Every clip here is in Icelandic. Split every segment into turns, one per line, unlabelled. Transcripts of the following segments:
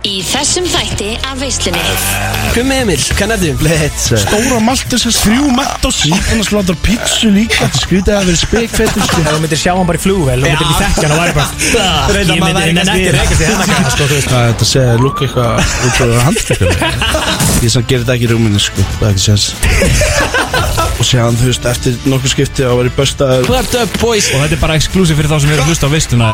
Í þessum þætti af veislunni
Gummi Emil, hvað nefnum? Blitz
Dóra Maltes er þrjú mætt á síðan Sláttar pítsu líka Þetta skrítið að vera spekfettur sko.
Ef þú myndir sjá hann bara í flugvel, þú myndir ekki þekkja hann og væri bara
Reyndar
Ég
maður væri
myndir
kannski-
henni ekki reykast í hennar kæða, sko, þú veist
Hvað Þetta segja að lukka eitthvað út frá handtökum Ég sann gerir þetta ekki í rúminu sko Það er ekki séns Og séðan þú veist eftir nokkuð skipti að vera í besta
Clapped up boys
Og þetta er bara exklusið fyrir þá sem eru að hlusta á veisluna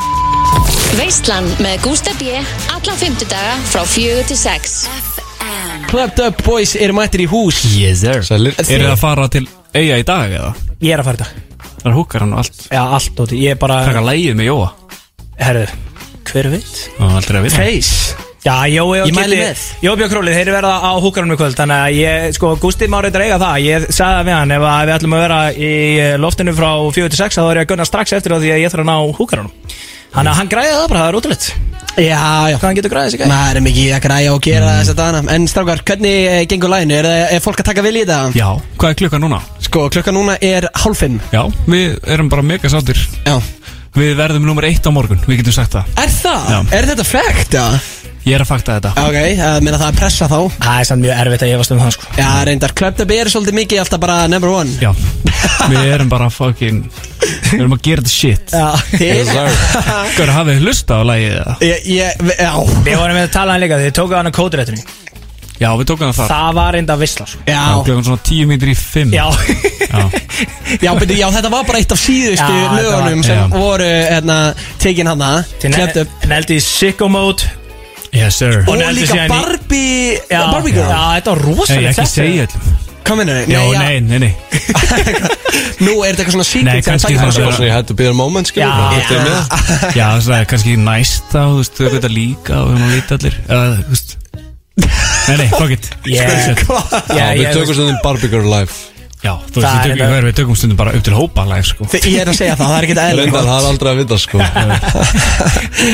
Veislan með Gústa B Alla fymtudaga frá fjögur til sex
Clapped up boys eru mættir í hús
Yes sir Sælir
Þið-
Eru það að fara til eiga í dag eða?
Ég er að fara í dag
Það er húkar hann og allt
Já, allt og ég er bara
Taka lægið með Jóa
Herru, hver veit?
Það er aldrei að vita
Face
Já, Jói og
Ég mæli
Kiddi
með.
Jói Björn Królið, þeir eru verða á húkarum í kvöld Þannig að ég, sko, Gústi má reyndar eiga það Ég sagði það við hann, ef að við ætlum að vera í eh, loftinu frá 4-6 Þá er ég að gunna strax eftir það því að ég þarf að ná húkarunum Þannig að hann græði það bara, það er útilegt
Já, já
Hvað hann getur græðið sig gæði?
Maður er mikið að græja og gera þess að dana En strákar, hvernig eh, gengur læginu? Er, það- er fólk að taka vilja í þetta?
Já Hvað er klukka núna?
Sko, klukka núna er hálfimm
Já Við erum bara mega sáttir
Já
Við verðum nummer eitt á morgun Við getum sagt það
Er það?
Já.
Er þetta frekt? Já
Ég er að fakta þetta
Ok, það meina það er pressa þá
Það er samt mjög erfitt að efast um það, sko.
Já, reyndar, Clapped up er svolítið mikið alltaf bara number one
Já Við erum bara fucking Við erum að gera þetta shit
Þið?
Hvað er að hafið hlusta á lægið eða?
Ég, ég, já
Við vorum með að tala um hann líka, þið tókuð hann að kóturéttunni
Já við tókum það þar
Það var reynda vissla sko.
Já,
Klukkan svona tíu mínir í fimm
Já,
Já.
Já, beti, já, þetta var bara eitt af síðustu
Já, þetta var-
lögunum sem
Já.
voru hérna, tekin hana
til
Klemt upp
neldi í sicko mode
Yes sir
Og-
Og
negldi
líka
síðan í-
Barbie
Já,
Barbie
já,
girl
þetta var
Nei
rosalega
ekki segja öllum
Hvað minnur þið?
Já nei nei nei
Nú er þetta eitthvað svona secret
Nei,
sem að
kannski
taka
það
hana.
sé-
Þannig að ég hættu að byrja moment skilur
Já.
Þetta er með
Já, það er kannski næsta og þú veist, þau veit að líka og við erum að vita allir eða, þú veist Nei, nei, fuck it
Yeah.
sko.
Já,
Já,
Við
ég-
tökum stundum Barbie Girl Life
Já, þú
Það
veist, við
er
tökum,
þetta-
við tökum stundum bara upp til hópa lag, sko
Þi- Ég er að segja það, það er ekkert
Reyndar það er
eðlum
aldrei að vita sko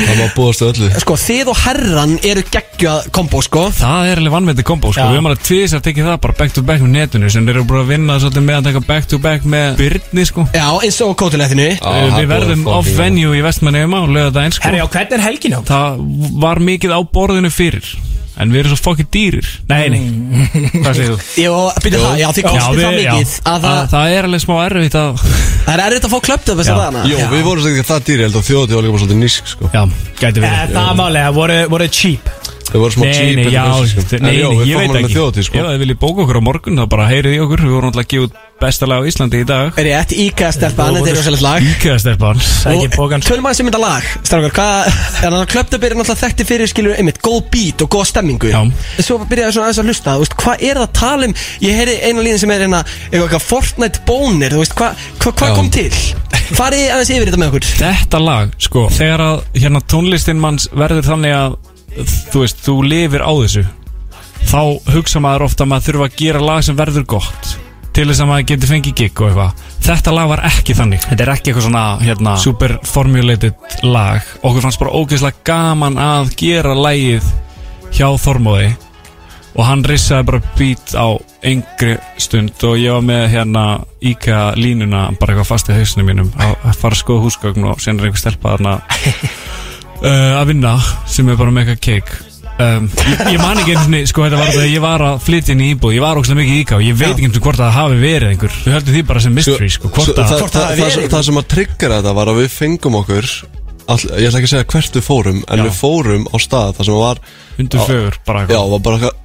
Það má búast við öllu
Sko, þið og herran eru geggjað kombo, sko
Það er alveg vannmyndi kombo, sko
Já.
Við erum alveg tvisar að tekið það bara back to back með netinu sem þeir eru bara að vinna svolítið með að taka back to back með Byrni, sko
Já, eins og kótulegðinu
Já,
Eh,
það er
Við
búið
verðum
að
off
fucking-
venue í vestmenningum á lögadaginn, sko
Herri, já, hvernig er helgin á?
Það var mikið á borðinu fyrir En við erum svo fokkið dýrir Nei, nei,
Mm.
hvað segir þú?
Jó, byrju það, já, þið kostið það mikið að
það,
það-
það er alveg smá erfitt að
Það er erfitt að fá klöpt upp þess
Já.
að hana
Jó, við vorum ekki það dýri, ég held að þjóðatíð var líka bara svolítið nýsk sko
Já, gæti
Eh,
verið
Það er málega, voru, voru cheap
Við vorum smá
Nei,
cheap
nei,
eftir
já,
þessu, sko.
nei,
En
nei, ég
já,
veit
Við fáum alveg
ekki
þjóðatíð
Ef
sko
þið viljið bóka okkur á morgun þá bara heyrið í okkur Við vorum alltaf að gefa út besta lag á Íslandi í dag
Er ég ett íkastelpan, þetta er rosalegt lag
Íkæða stelpan
Það er ekki
Og
bókan
tölum aðeins um þetta lag Strákar, hvað Þannig að klöptöp er náttúrulega þekkti fyrir skilur einmitt Góð beat og góð stemmingu
Já.
Svo byrjaði svona aðeins að hlusta þú veist, Hvað er það að tala um Ég heyri eina líðin sem er hérna Eitthvað eitthvað Fortnite bónir Þú veist, hvað hva, hva
Já.
kom til Farið aðeins yfir þetta með okkur
Þetta lag, sko, þegar að hérna tónlistin manns verður þannig að þú veist, þú lifir á þessu þá hugsa maður ofta að maður þurfa að gera lag sem verður gott til þess að maður getur fengið gig og eitthvað Þetta lag var ekki þannig Þetta er ekki eitthvað svona hérna, super formulated lag Okkur fannst bara ógeðslega gaman að gera lagið hjá Þormóði og hann rissaði bara beat á engri stund og ég var með hérna íka línuna bara eitthvað fast í hausinu mínum að að fara að skoða húsgögn og sen er einhver stelpa þarna uh, að vinna sem er bara með eitthvað keik um, ég, ég man ekki einu sinni sko þetta var þegar ég var að flytja inn í íbúð ég var ógstlega mikið í íka og ég veit ekki einu sinni hvort að það hafi verið einhver við höldum því bara sem mystery sko
Svo-
hvort
það-
að
það-
það hafi
það-
verið.
Það sem að tryggra þetta var að við fengum okkur all, Ég ætla ekki að segja hvert við fórum En
Já.
við fórum á stað þar sem var
undur fögur bara
Já,
eitthvað
var bara eitthvað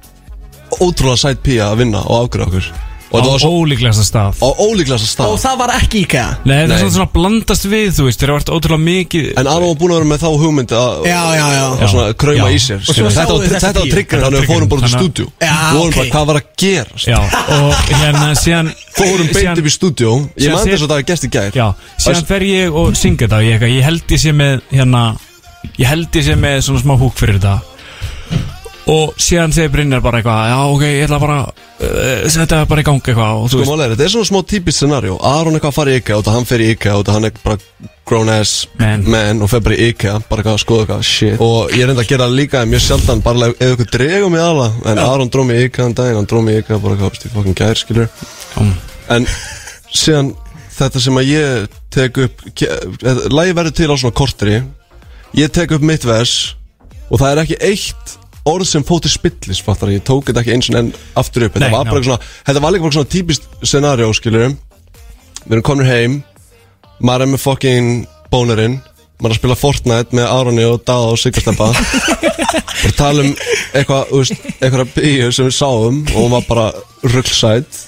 Ótrúlega sætt pía að vinna og afgræða okkur Og
á
það var svo
ólíklegasta stað
á ólíklasa stað
Og það var ekki íkja
Nei, það er
Nei.
svona svona blandast við, þú veist, þeir eru vært ótrúlega mikið
En Aron var búin að vera með þá hugmynd að
Já, já, já.
að svona krauma
Já.
í sér
svo
skilur.
sáuð
Þetta var
þið þessa
þetta var
bíó.
triggerinn, þannig að við
Þetta var
fórum bara til
triggerinn,
stúdjú
Já,
Við vorum bara
ok.
hvað var að gerast
Já, og hérna síðan
Fórum beint
síðan-
upp í stúdjú Ég
síðan
man
þið-
þess að það var gest í gær Sko,
Já, síðan fer ég og syng þetta og ég, eitthvað, ég held ég sé með hérna, ég held ég sé með svona smá húk fyrir þetta og síðan segir Brynjar bara eitthvað já ok, ég ætla bara uh, setja það bara í gang eitthvað og þú
Sko
veist,
málega er, þetta er svona smá típist scenarjó Aron eitthvað að fara í IKEA og það hann fer í IKEA og það hann er bara grown ass
Man.
og fer bara í IKEA bara eitthvað að skoða eitthvað shit og ég reynda að gera það líka en mjög sjaldan bara ef ef eitthvað dregum í aðla en Aron dró mig í IKEA þann daginn hann dró mig í IKEA bara eitthvað stíf fokkin gær skilur
um,
en síðan þetta sem að ég tek upp eh, lagi verður til á svona kortri ég tek upp mitt vers og það er ekki eitt orð sem fótt til spillis fattar ég tók þetta ekki eins og enn aftur upp þetta
Nei,
var
ná.
bara svona þetta var líka bara svona típist scenario skilur við erum komin heim maður er með fucking bónerinn maður er að spila Fortnite með Árani og Dada og Siggastabba bara tala um eitthvað þú veist, eitthvað bíu sem við sáum og hún var bara rullsætt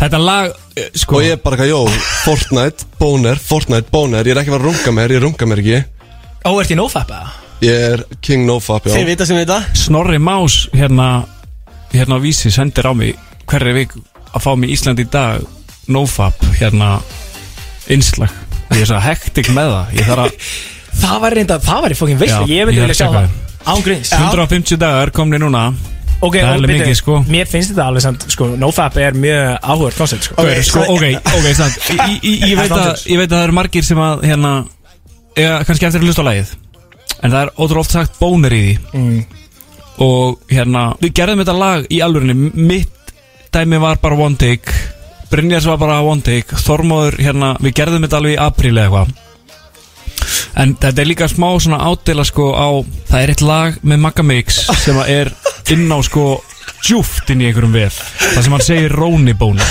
Þetta lag, eh, sko
og ég er bara eitthvað, jó, Fortnite, bóner Fortnite, bóner, ég er ekki að fara að runga mér ég runga mér ekki,
Ó, ert í nofap eða?
ég er King Nofap já,
Þeir vita sem vita
Snorri Más hérna, hérna á vísi sendir á mig hverri vik að fá mig Ísland í dag nofap hérna innslag ég er svo hektik með það ég þarf að
Það var reynda, það var í fókin veist
Já,
Ég myndi
ég
vilja sjá
held
það
ekki.
Án gríns
150 dagar komni núna
Ok,
það er
og
alveg
byrju,
mikið, sko.
Mér finnst þetta alveg samt, sko, nofap er mjög áhugað koncept, sko
Gaur, sko, ok, ok, stand ég, ég, ég, veit að, ég veit að það eru margir sem að hérna, eða kannski eftir að hlusta á lagið en það er ótrúlega oft sagt bónir í því og hérna við gerðum þetta lag í alvörinni mitt dæmi var bara one take Brynjars var bara one take Þormóður, hérna, við gerðum þetta alveg í apríl eða eitthvað En þetta er líka smá svona ádela sko á Það er eitt lag með Magga Mix sem að er inn á sko djúft inn í einhverjum vef Það sem hann segir rónibónu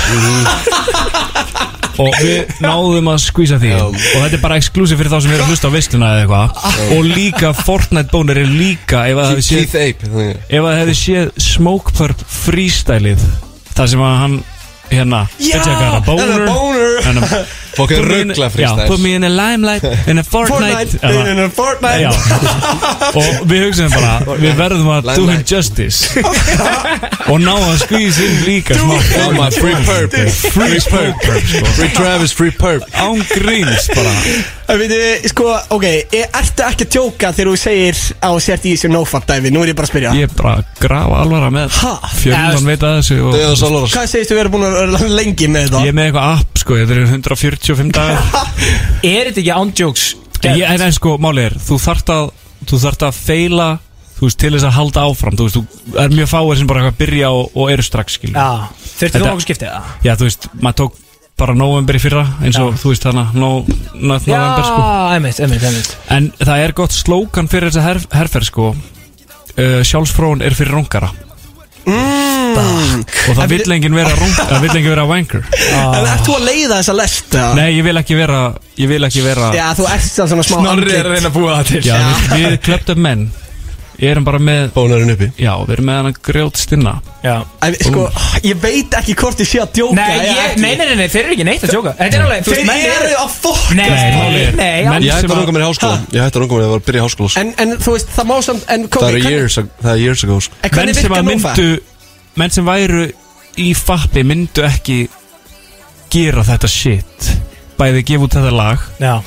Og við náðum að skvísa því Og þetta er bara exclusive fyrir þá sem eru að hlusta á veisluna eða eitthvað Og líka Fortnite bónur er líka Ef að það hefði séð,
Keith Ape þannig.
ef að það hefði séð Smoke Purp freestylið Það sem að hann hérna
Já,
bitch, I got a
and a boner.
and a-
Fokkin
Put me in-
ruggla
Já, Put
freestyle
me in a limelight In a Fortnite
Fortnite
Eða-
in a Fortnite
Já. og við hugsaðum bara við verðum að do him
Limelight.
justice og ná að skvísa inn líka smá
Oh my, free perp
free smoke
Free Travis, free perp
án gríns bara
Það veitu, sko, ok e- Ertu ekki að tjóka þegar þú segir á sért í þessu nofap dæmi Nú er ég bara að spyrja
ég er bara að grafa alvara með
Ha?
fjöldan veit að þessu og
Döða Saloras
Hvað segist þú verið búin að vera lengi með
ég
þetta?
er með eitthvað app sko þetta eru 145 dagar
Er þetta ekki ándjóks?
En ég, en, en sko, máli er, þú þart að þú þart að feila þú veist, til þess að halda áfram þú veist, þú, það er mjög fáir sem bara eitthvað byrja og, og eru strax skil
Já, þurfti þú
Þetta-
okkur skiptið það?
já, þú veist, maður tók bara november í fyrra eins og þú veist hana, no, no,
Já,
november sko
einmitt, einmitt, einmitt
En það er gott slókan fyrir þessa herf, herferð sko uh, Sjálfsfrón er fyrir rungara
Mm.
Og það vill enginn vera rung Það vill enginn vera wanker
En ert þú að leiða þessa lest? eða?
Nei, ég vil ekki vera Ég vil ekki vera
Já, þú ert það svona smá andlit.
reyna að búa það til
Já, við- Við klöptum menn Ég erum bara með
Bónarinn hérna uppi
Já, við erum með hann að grjót stinna
Já
En, Sko, ég veit ekki hvort ég sé að djóka
Nei,
eða
ég,
ekki.
nei, nei, nei, nei, þeir eru ekki neitt að sjóka Þetta er alveg, þú veist,
Þeir
menn
eru
eru
að fokk
Nei, nei,
Máli er-
nei,
menn
alveg.
Ég hætti
sem
að
að-
runga mér í háskóla Ég hætti að runga mér að vera að byrja í háskóla sko.
en, en þú veist, það má samt en, kom,
Það er years, ag- það er years ago sko.
En
Menn
hvernig
sem
virka
að
núfa?
myndu Menn sem væru í fappi Myndu ekki gera þetta shit Bæði gefa út þetta lag
Já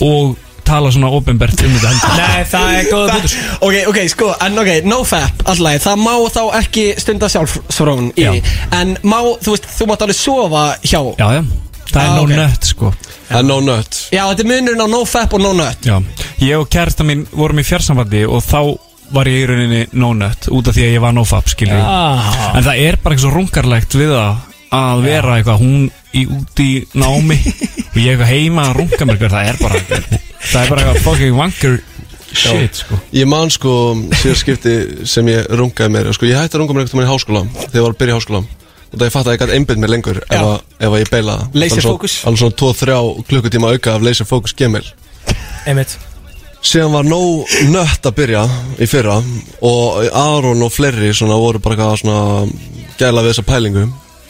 Og tala svona ofinbert um þetta heldur
Nei, það er góða bútur
Ok, ok, sko, en ok, nofap allaveg, það má þá ekki stunda sjálfsfrón í,
Já.
en má, þú veist, þú mátt alveg sofa hjá Já,
Já, já, það er
Ah,
no
ok.
nut sko
Það er no nut
þetta er munurinn á nofap og nonut
Já, ég og kærasta mín vorum í fjarsambandi og þá var ég í rauninni no-nut út af því að ég var no-fab, skilur
Ah.
við.
Já,
En það er bara eitthvað svo rungarlegt við það að vera eitthvað hún í út í námi og ég eitthvað heima að runga mér hver, það er bara það er bara eitthvað fucking wanker shit, sko.
Ég man sko síðan skipti sem ég rungaði mér sko. Ég hætti að runga mér einhvern veginn í háskóla Þegar ég var að byrja í háskóla Og það ég fatt að ég gæti einbyrð mér lengur ef, að, ef að ég beilaði
Laserfókus.
Alveg svona 2-3 klukkutíma auka af laser focus gemil
einmitt
Síðan var nóg nött að byrja í fyrra og Aron og fleiri svona voru bara eitthvað svona gæla við þessa pælingu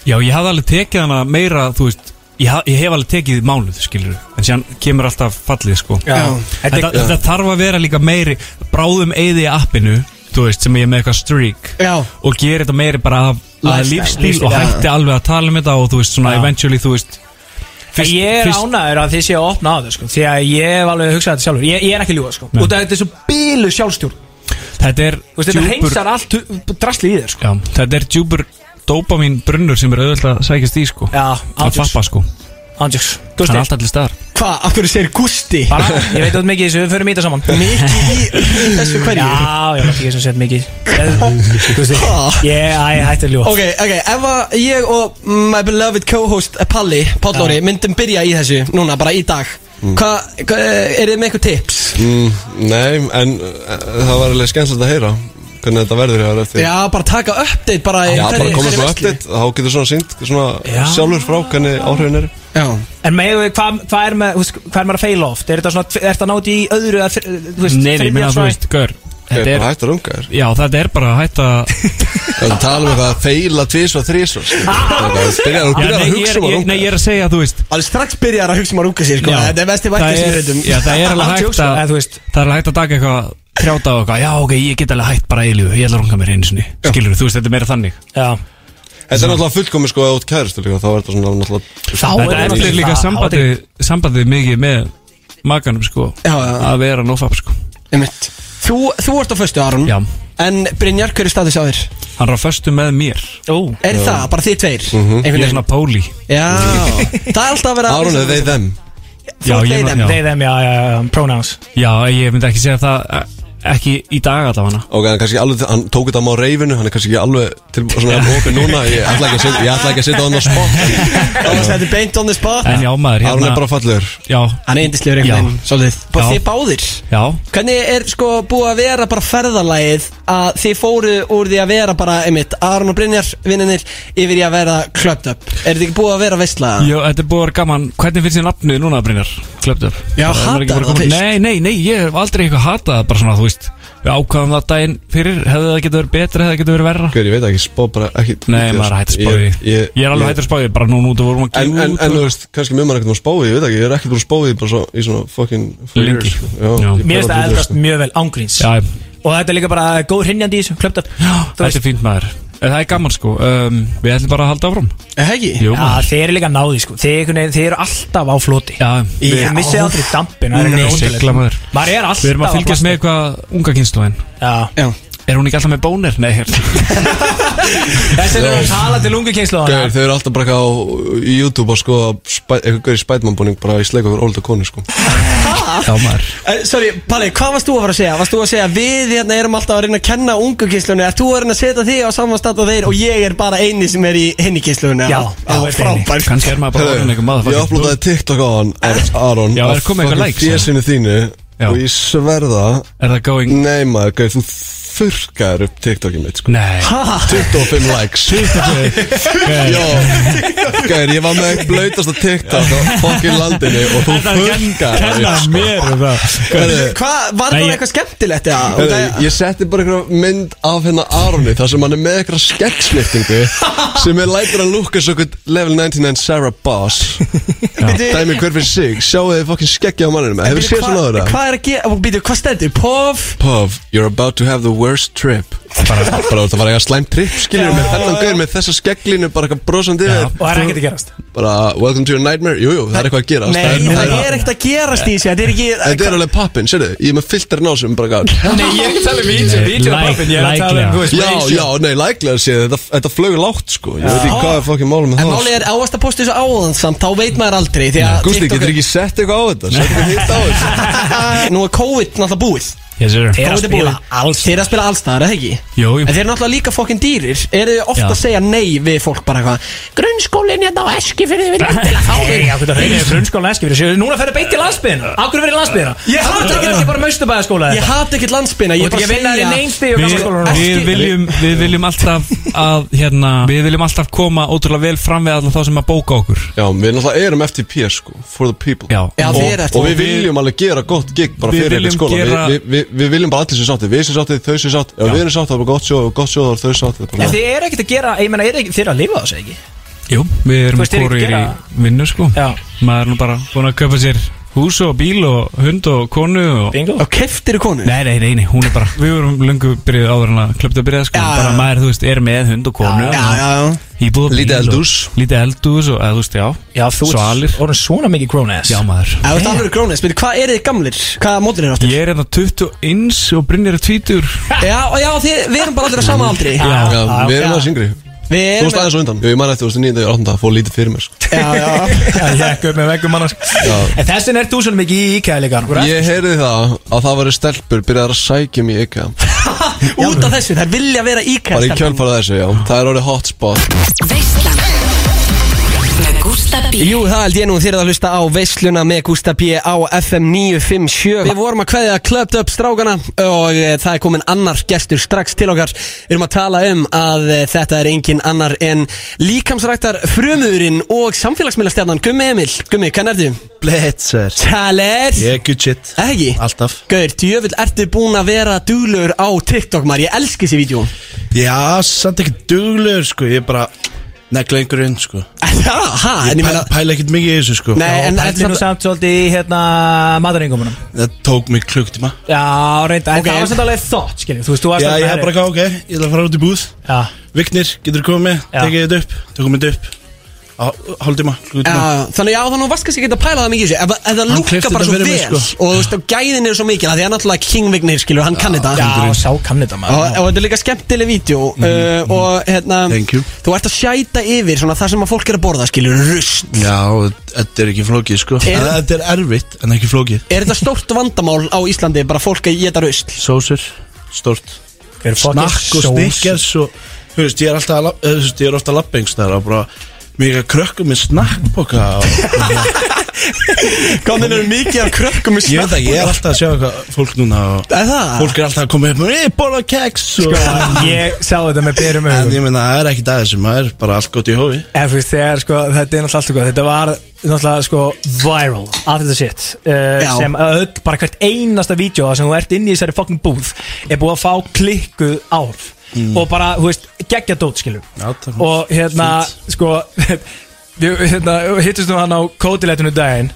Já, ég hafði alveg tekið hana meira, þú veist, ég, haf, ég hef alveg tekið mánuð, skilur við. En síðan kemur alltaf fallið, sko.
Já
Þetta,
Þetta
þetta þarf að vera líka meiri bráðum eyði í appinu, þú veist, sem ég er með eitthvað streak
Já,
og gera þetta meiri bara af, af
Lifestyle,
lífstíl
lífstíl,
og
já.
hætti alveg að tala um þetta og þú veist svona
Já.
eventually þú veist
Fyrst, ég er ánæður að þið séu að opna á þau sko, því að ég hef alveg hugsað þetta sjálfur ég, ég er ekki ljúga sko,
Nei.
út af þetta er svo bílu sjálfstjórn Þú
þetta er
veist, þetta
djúpur
hreinsar allt hu- drasli í þér sko.
já, þetta er djúpur dópamin brunnur sem er auðvitað að sækjast í sko
Já,
að
ándjóks,
fappa sko
ándjóks
það er
Gústi,
alltaf allir staðar
hvað, af hverju segir Gusti?
bara, ég veit út mikið í þessu, við förum í þetta saman
Mikið í, í þessu
Já,
hverju?
já, ekki ég sem sett mikið Gústi, ég, æ, ég hætti að ljúga
Ok, ok, ef að ég og my beloved co-host eh, Palli, Pállóri, myndum byrja í þessu núna, bara í dag
Mm.
Hvað, hva, er þið með eitthvað tips?
eh, mm, Nei, en uh, það var alveg skemmtilegt að heyra hvernig þetta verður hjá þér eftir
Já, bara taka update bara í
Já,
hverri-
bara koma
hverri
svo
verslu.
update, þá getur svona sínt svona
Já.
sjálfur frá hvernig áhrifin eru
Já,
En megum við, hvað hva er, með- þú veist, hvað er maður að feila oft? Er þetta svona, er þetta nátt í öðru að, þú veist,
Nei, ég
þriðja
meina, þú
try?
veist, gaur
Það
Þetta
er
er,
bara hægt að runga þér
já, þetta er bara að hætta
Það tala um eitthvað að feila sko. tvís og þrís og Byrjar þú
Já,
byrjar
nei,
að
ég
hugsa
er,
um að
ég, nei,
runga
ég er að segja, þú veist
alveg strax byrjar að hugsa um að rúka sér sko.
Já.
Þetta er vesti
það
vækið sem ég
er,
reyndum
já, það er alveg
Án
hægt
jokes,
að
eða þú veist.
Það er alveg hægt að taka eitthvað Trjáta og eitthvað, já, ok, ég get alveg hægt bara að eilífu Ég ætla að runga mér einu sinni, skilur þú veist, þetta er meira þannig
Já.
Þetta er náttúrulega fullkomi sko át kæristu líka Þá er þetta svona náttúrulega
Þá
Þetta
er
eflir líka sambandi, sambandi mikið með makanum sko
Já, já.
Að vera nófab sko
Einmitt. Þú, þú ert á föstu Aron
Já.
En Brynjar, hver er status á þér?
Hann er á föstu með mér
Ó,
Er það, bara þið tveir? Mm
Mhm. Ég er svona póli
Já, það er alltaf að vera
Árun eða þeir þeim
Þú ert
Já, ég-
þeir þeim.
já.
they, them, já, já, já, pronouns
Já, ég myndi ekki segja það eh, Ekki í dag allavega
Ok, hann er kannski ekki alveg, hann tók þetta á má reyfinu Hann er kannski ekki alveg til svona hópi núna Ég ætla ekki að setja- ég ætla ekki að setja hann á spot
Þá er Þetta er beint on the spot
En já maður,
Árun er
hérna
bara fallegur
Já,
Hann er yndislegur einhvern
Já.
veginn, svolítið Bara
Já.
þið báðir
já
Hvernig er sko búið að vera bara ferðalagið að þið fóru úr því að vera bara einmitt Aron og Brynjar vinninir yfir í að vera klöpt upp Er þetta ekki búið að vera veistla?
Jó, þetta er búið að vera gaman Hvernig finnst þér nafnið núna, Brynjar? Klöptur
Já, hataðu það fyrst.
Nei, nei, nei, ég hef aldrei eitthvað hatað það Bara svona, þú veist Við ákvaðum það daginn fyrir Hefði það getið verið betra, hefði það getið verið verra
Hver, ég veit ekki, spá bara ekki
Nei, maður er hægt að spá því
Ég-
Ég, er alveg hægt að spá því Bara núna út og vorum að
En,
gefa
en,
út
en þú
og-
veist, kannski mun maður ekkert að spá því, ég veit ekki, ég er ekkert búin að spá því bara svo, í svona fucking four
Lengi.
years, sko. Já,
Já.
ég
Mér finnst
bara
það
að
eldast
hluta, sko.
mjög vel ángríns
Já,
Og þetta er líka bara góð hrinjandi í þessu, klöpt upp Þú
þetta
veist,
er fínt maður En Það er gaman sko um, Við ætlum bara að halda áfram
Hegi?
Jú,
já,
maður.
þeir eru líka náði, sko Þeir, einhvern veginn- þeir eru alltaf á floti
Já,
Við
Já.
missið aldrei dampin það er
Nei,
eitthvað
sigla, maður.
ótrúlegt. Maður er alltaf
Við erum
á
að fylgjast
plasti.
með hvað unga kynsluðin
Já,
Já
Er hún ekki alltaf með bónir? Nei, hérna. hér
þessi eru að tala til ungu kynslu
Gauður, Þau eru alltaf bara eitthvað á í YouTube að sko eitthvað gaur í Spiderman búning bara í sleik okkur ólda konu sko
Já maður
Uh, sorry, Palli, hvað varst þú að fara að segja? Varst þú að segja við hérna erum alltaf að reyna að kenna ungu kyslunni Er þú að reyna að setja þig á samanstætt og þeir og ég er bara eini sem er í henni kyslunni
Já, þú ert eini.
frábært
Kannski er maður bara orðin eitthvað maður
Ég uploadaði TikTok á hann Aron
Já, er komið eitthvað likes, eða?
fjesinu þínu
Já.
og ég sverða
Er það going?
Nei maður, gauð, þú þurrkaður upp TikTokið mitt sko
Nei
25 likes Já, gauður, ég var með eitt blautasta TikTok á fokkin landinu og þú þurrkaður upp sko
mér um það
Heyrðu,
Hvað, var
Nei,
það
ég-
eitthvað skemmtilegt? eða? Og
Heyrðu,
það-
Ég setti bara einhverja mynd af hérna Aroni þar sem hann er með einhverja skeggsmyndingu sem er lætur að lúka svo okkur level 99 Sarah Boss
Bíddu,
dæmi hver fyrir sig sjáu þið fokkin skeggja á manninu hefur
bíddu,
séð svona
hvað-
áður það?
Hvað er að gera, býtu, hvað stendur? Pof
Pov, you're about to have the worst trip bara bara það var eitthvað slæm trip skiljum með þennan gaur með þessa skegglínu bara eitthvað brosandi
Já.
yfir.
Og það er ekkert að gerast
bara welcome to your nightmare jújú jú, það er eitthvað að gera
Nei, það er ekkert að gerast í þessu Þetta er
þetta
ekki
er alveg pappin sérðu ég er með filter násum bara gaf
Nei, ég er ekki að tala um vídeo,
Nei,
vídeo
like-
like, Ég er að tala
likely.
um, þú veist,
já já nei læklega sé þetta þetta flög lágt sko ég veit ekki hvað er fokkin málum með
En
það
málið er áast að posta þessu áðan samt Þá veit maður aldrei Því að
Gústi
TikTok
getur ekki sett eitthvað á þetta sett eitthvað hitt á þetta
er- Nú er COVID náttúrulega búið
Yes sir
Þeir að
COVID er
spila
búið. Þeir eru að spila allstaðar, eða ekki?
Jú, jú.
En þeir eru náttúrulega líka fokkin dýrir Eru þið ofta
Já.
að segja nei við fólk bara eitthvað Grunnskólinn hérna á eski fyrir því við landilega fá
Nei,
þig
já, hvernig að reyna frunnskólan eski fyrir sig Núna ferðu beint í landsbyðina Akkur verið í landsbyðina
Ég hata
Akkur
ekki
ekki
það.
ekki bara maustubæðaskóla
Ég hata ekkert landsbyrna Ég
Ég
er bara
ég vinna þér
að
í
segja
neinsti og
Við,
gammalskóla
við, viljum, við viljum alltaf að hérna, Við viljum alltaf koma ótrúlega vel fram við alla þá sem að bóka okkur
Já, við náttúrulega erum FTP sko, for the people
Já,
Já,
og,
þið eru
og við
eftir
viljum alveg gera gott gig bara
Við
fyrir
viljum
eitthvað skóla
gera-
við, við, við, við viljum bara allir sem sátti, við sem sátti, þau sem sátti ef við erum sátti, það var gott sjóð, og gott sjóð, það var þau sátti bara...
En þið eru ekkert að gera, ég menna, eru ekki- þið eru að lifa á þessu ekki?
Jú, við
Þú
erum
veist, þeir eru ekki
hvorir í
að
vinnu sko
Já.
Maður er nú bara búin að köpa sér hús og bíl og hund og konu og...
Bingo
Og keftir konu
Nei, nei, nei, nei, hún er bara Við vorum löngu byrjuð áður en að klöpta að byrja sko
Já, já.
Bara maður, þú veist, er með hund og konu
Já, já, já
já Íbúð og bíl
Lítið
og-
eldhús.
Lítið eldús og, eða, þú veist, já
Já, þú
Svalir.
ert orðin svona mikið grown ass
Já, maður
Ef þetta alveg grónis, byrju, hvað eru þið gamlir? Hvaða mótur eru aftur?
Ég er hérna 21 og Brynjar er 20
Já, já, þið, við erum bara allir á sama aldri
Já,
já,
við erum
já.
aðeins yngri
Við
Þú
erum
veist aðeins og undan, Jú, ég man eftir, þú veist, 9. og 8. fór lítið fyrir mér sko.
Já, já
Ég ekki upp með veggum annars En þessin er þú svona mikið í IKEA líka Akkur
Ég heyrði það að það var stelpur byrjaðar að sækja mig í IKEA
Út af þessu, þær vilja vera íkæðst
bara í kjölfarað þessu, já, það er orðið hotspot
Veislan Með Gústa
Gústa B
Jú, það held ég nú þér að hlusta á veisluna með Gústa B á FM 957 Við vorum að kveðja klöpt upp strákana og eh, það er komin annar gestur strax til okkar Við erum að tala um að eh, þetta er engin annar en líkamsræktar frumurinn og samfélagsmiðlastjarnan Gummi Emil Gummi, hvern ertu?
Blitzer
Taler
Ég er good shit
Eh, Ekki?
Alltaf
Gaur, djöfull ertu búin að vera duglegur á TikTok maður, ég elski þessi vídjó
Já, samt ekki duglegur sko Ég er bara negla einhverjum sko
Það, hæ, en ég meina
Pæla, pæla ekkert mikið í þessu sko
Nei, en
Það
þetta
er nú samt svolítið í hérna mataringumunum
Það tók mig klukktíma
Já, reynda, en
Ok.
það var samt alveg þótt, skiljum Þú veist, þú varst
Já,
þarna
ég hef
nærri.
bara gáð, ok Ég ætla að fara út í búð
Já,
Vignir, getur komið,
Já.
tekið þetta upp Tökum þetta upp Á hálftíma, klukkutíma
Já, þannig já, þannig varst kannski ekki að pæla það mikið í þessu Ef, ef það lúka
klippti
bara
þetta
svo vel
fyrir mig, sko.
Og þú veist, og gæðin eru svo mikil af Því að náttúrulega King Vignir, skilur, hann kann þetta
já sá kann þetta
Og,
maður
og þetta er líka skemmtileg vídeo uh, Og hérna,
Mhm, Thank you.
þú ert að sjæta yfir Svona það sem að fólk er að borða, skilur, rust
Já, þetta er ekki flókið sko
Er-
En Þetta er erfitt, en ekki flókið
Er þetta stórt vandamál á Íslandi Bara fólk að geta rust
Sósur, stórt
Hver fucking
snakk og
sós.
snikkers og þú veist, ég er alltaf að lab- eh, þú veist, ég er ofta að labba einhvers þar og bara mjög að krökkum með snakkboka og
Hvað minnur mikið af krökkum í
ég veit ekki, ég er alltaf að sjá eitthvað fólk núna og
Er það?
fólk er alltaf að koma upp með ég borða keks og
Sko, ég sá þetta með byrjum
en
augum
ég meina, það er ekkit aðeins sem það er bara allt gott í hófi
En þú veist, þegar, sko, þetta er náttúrulega allt og góð Þetta var náttúrulega, sko, viral Allt þetta shit
Já.
uh, Sem öll, bara hvert einasta vídeo þar sem þú ert inn í þessari fucking búð Er búið að fá klikkuð ár Og bara, þú veist, geggja dót, skilur
Hmm. Já, takk.
Og hérna, sko við, hérna, Hittust nú hann á kótileitinu daginn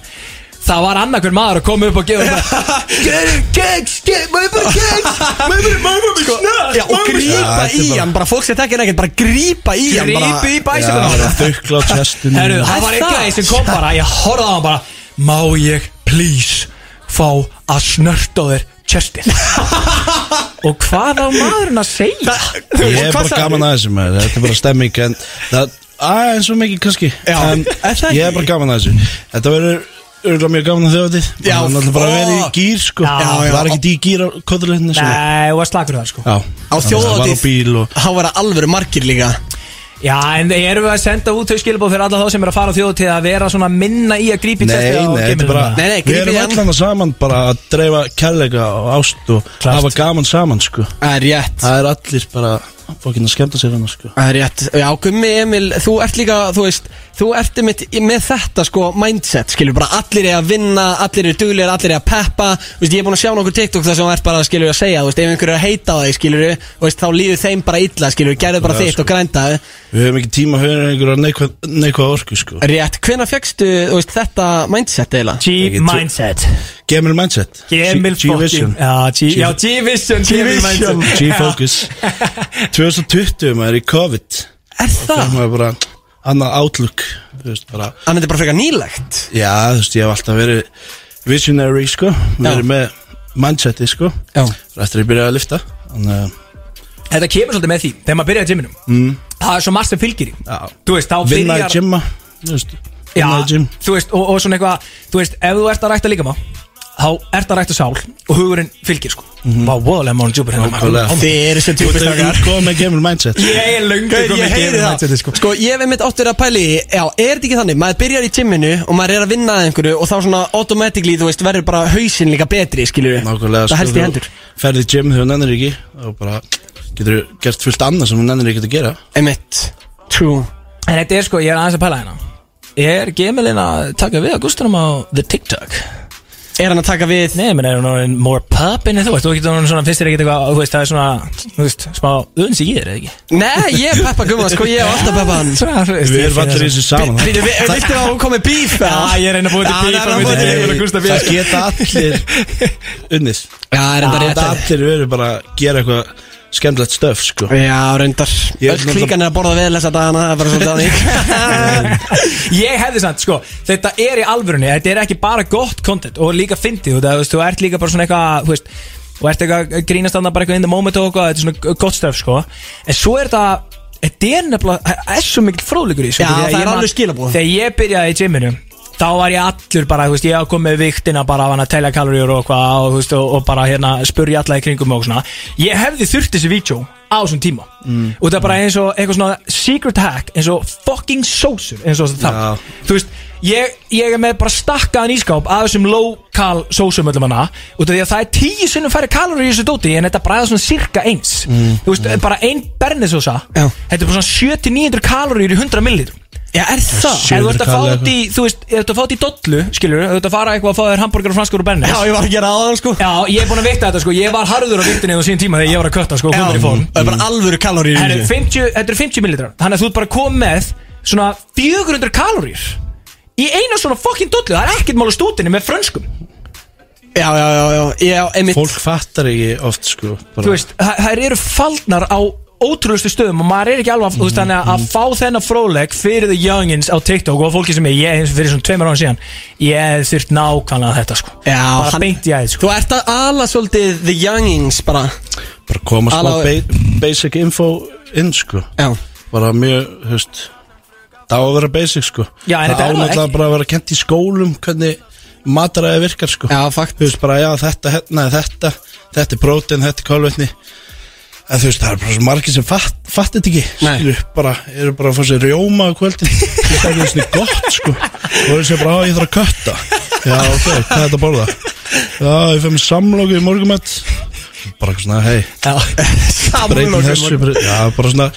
Það var annarkver maður að koma upp og gefa þetta
Keks, keks, maður bara keks Maður bara, maður bara snöð Sko, Já, og grípa
Já, þetta er
í
bara-
hann Bara fólk sem tekir ekkert, bara grípa í hann bara-
Grípi í
Já,
bæsinguna
það er þaukla á testinu
Herru, það var einn
það?
gæði sem kom bara Ég horfði á hann bara Má ég please fá að snörta á þér tjestið Og hvað á maðurinn að segja?
ég er bara gaman aðeins sem er þetta er bara stemming en það aðeins svo mikið kannski
Já,
en
er það
ég er bara gaman aðeins þetta verður örgulega mjög gaman að þjóðið
Já,
hann ætla bara að vera í
ó.
gýr sko
Já, já.
var ekki í gýr á kóðurleitinu
Nei, þú var slagur það sko
Já,
Á
Var á bíl
þjóðatíð
og
Há vera alvöru margir líka
Já, en erum við að senda út þau skilabóð fyrir alla þá sem er að fara á þjóðu til að vera svona minna í að grípi
Nei,
tjestið á
nei, þetta er
geimilinu?
bara
Nei, nei,
Við
grípið
erum
í hann.
allan að saman bara að dreifa kærleika og ást og
Klárt.
hafa gaman saman, sko
Það er rétt
Það er allir bara fokkin að skemmta sér hann, sko
Það er rétt Já, Gummi Emil, þú ert líka, þú veist Þú ert mitt með þetta sko mindset Skilur bara allir er að vinna, allir er duglir Allir er að peppa Þú veist, ég er búin að sjá nokkur TikTok þar sem þú ert bara skilur að segja Þú veist, ef einhver er að heita á þig skilur Þú veist, þá líður þeim bara illa skilur Gerðu bara
Já,
þitt
sko.
og grænda
Við höfum ekki tíma að höfum einhverja neikvað, neikvað orku, sko
Rétt, hvenær fegstu, þú veist, þetta mindset eiginlega?
Ég get-
G-mindset
Gemil mindset
Gemil
G- G-Vision
fucking Já, G- já, G-vision Gemil
G-Vision
mindset.
G-Focus 2020 maður er í COVID
Er það?
Það er bara annað outlook Þú veist, bara
Þannig þetta er bara frekar nýlegt
Já, þú veist, ég hef alltaf verið visionary, sko Verið
Já.
með mindseti, sko
Já
Eftir að ég byrjaði að lifta Þannig að
Þetta kemur svolítið með því Þegar maður byrjaði gyminu mm. Það er svo margt sem fylgir í
Já.
Þú veist, þá
vinna í
byrjar
gymma þú veist,
Já,
vinna í gym
þú veist, og, og svona eitthvað Þú veist, ef þú ert að rækta líka má Þá ert að rækta sál Og hugurinn fylgir sko Vá, voðalega mánu djúpur hérna maður.
Nákvæmlega.
Þið eru sem
Þú
tjúpistakar
ert komið með gemur mindset sko.
Ég er löngu
Gauð, ég heyri það sko. ég hef einmitt áttur að pæli Já, er þetta ekki þannig, maður byrjar í timminu og maður er að vinna að einhverju og þá svona automatically, þú veist, verður bara hausin líka betri, skilur
Nákvæmlega
Það helst í hendur
Ferði í gym þegar þú nennir ekki og bara getur gert fullt annað sem þú nennir ekki að gera
Einmitt, true
En þetta er sko, ég er aðeins að pæla hérna Er gemilinn að taka við Augustunum á The TikTok?
Er hann að taka við
Nei, menn er hún orðin more poppin Þú veist, þú getur hún svona fyrst er ekkert eitthvað Þú veist, það er svona, þú veist, smá Unns í þér, eða ekki?
Nei, ég er Peppa Gumma, sko, ég er alltaf Peppa hann
Svona, þú veist,
Við
ég
erum
finn
allir í
það
þessu saman
Býtu, vi- Viltu að hún komið bíf?
Já, ég er að reyna að búa til bíl
Já, hann er að búa til
Emil og
bíl.
Gústa
Nei,
Björn.
Það geta allir unnið
Já, reyndar
Það
rétt
geta allir verið bara að gera eitthvað skemmtilegt stöf sko
Já, reyndar
Ég er
Öll klíkan er að borða vel þessa dagana, það er bara svolítið þannig
Ég hefði samt, sko, þetta er í alvörunni Þetta er ekki bara gott content og líka fyndið og það, þú veist, þú ert líka bara svona eitthvað þú veist, og ert eitthvað að grínast annað bara eitthvað in the moment og eitthvað, þetta er svona gott stöf, sko en svo er þetta, þetta er nefnilega það er svo mikil fróðleikur í þessu,
Já,
því
það
að ég
er
man-
alveg skilaboð.
Þegar ég byrjaði í gyminu þá var ég allur bara, þú veist, ég kom með viktina bara af hann að telja kaloríur og hvað og, þú veist, og, og bara hérna spurja alla í kringum og svona ég hefði þurft þessi vídeo á þessum tíma og það er bara eins og eitthvað svona secret hack eins og fucking sósur eins og það
Já.
þú veist ég, ég er með bara stakkaðan ískáp að þessum low-cal sósum öllum hana út af því að það er tíu sinnum færri kalori í þessu dóti en þetta bræða svona cirka eins þú veist bara ein bernisósa
Já.
þetta er bara svona 70-900 kalori í 100 millilitrum
Já, er það?
Ef þú
700
ert að fá
kall eða
þetta í, þú veist, ef þú ert að fá þetta í dollu, skilur, ef þú ert að fara eitthvað að fá þér hambúrgar og franskur og bennis
Já, ég var að gera aðan sko
Já, ég er búin að vita þetta sko, ég var harður á vittinni á sín tíma þegar ég var að kötta sko, komur í fórn
Það er bara alvöru kalóri í
Herru,
þessu
50 Þetta eru 50 millilitrar Þannig að þú ert bara að koma með svona 400 kaloríur í eina svona fucking dollu Það er ekkert mála stútinni með frönskum
Já, já, já, já, já, einmitt
Fólk fattar ekki oft sko bara.
Þú veist, þa- þær eru faldnar á ótrúlustu stöðum og maður er ekki alveg að, þú veist, þannig að,
Mhm.
að fá þennan fróleg fyrir the youngins á TikTok og fólki sem ég, ég fyrir svona tveimur án síðan ég hef þurft nákvæmlega þetta sko
Já,
bara
hann-
beint í aðeins sko
Þú ert að ala svolítið the youngings bara
Bara koma smá
Alá-
ba basic info inn sko
Já
Bara mjög, þú veist Það á að vera basic sko
Já, en þetta er það
ánætla
ekki.
bara að vera kent í skólum Hvernig mataræði virkar sko
Já, fakt
Þú veist bara, já, þetta, hérna, er þetta Þetta er prótein, þetta er kálvetni En þú veist, það er bara svo margir sem fatt, fatt þetta ekki
Nei.
Skilur, bara, eru bara að fá sér rjóma á kvöldin Þú veist, það er ekki þessi gott, sko Og þú veist, bara, á, ég þarf að kötta Já, ok, hvað er þetta að borða? Já, ég fæ mér samlóku í morgumætt Bara eitthvað svona, hei, breytum þessu bara- Já, bara svona,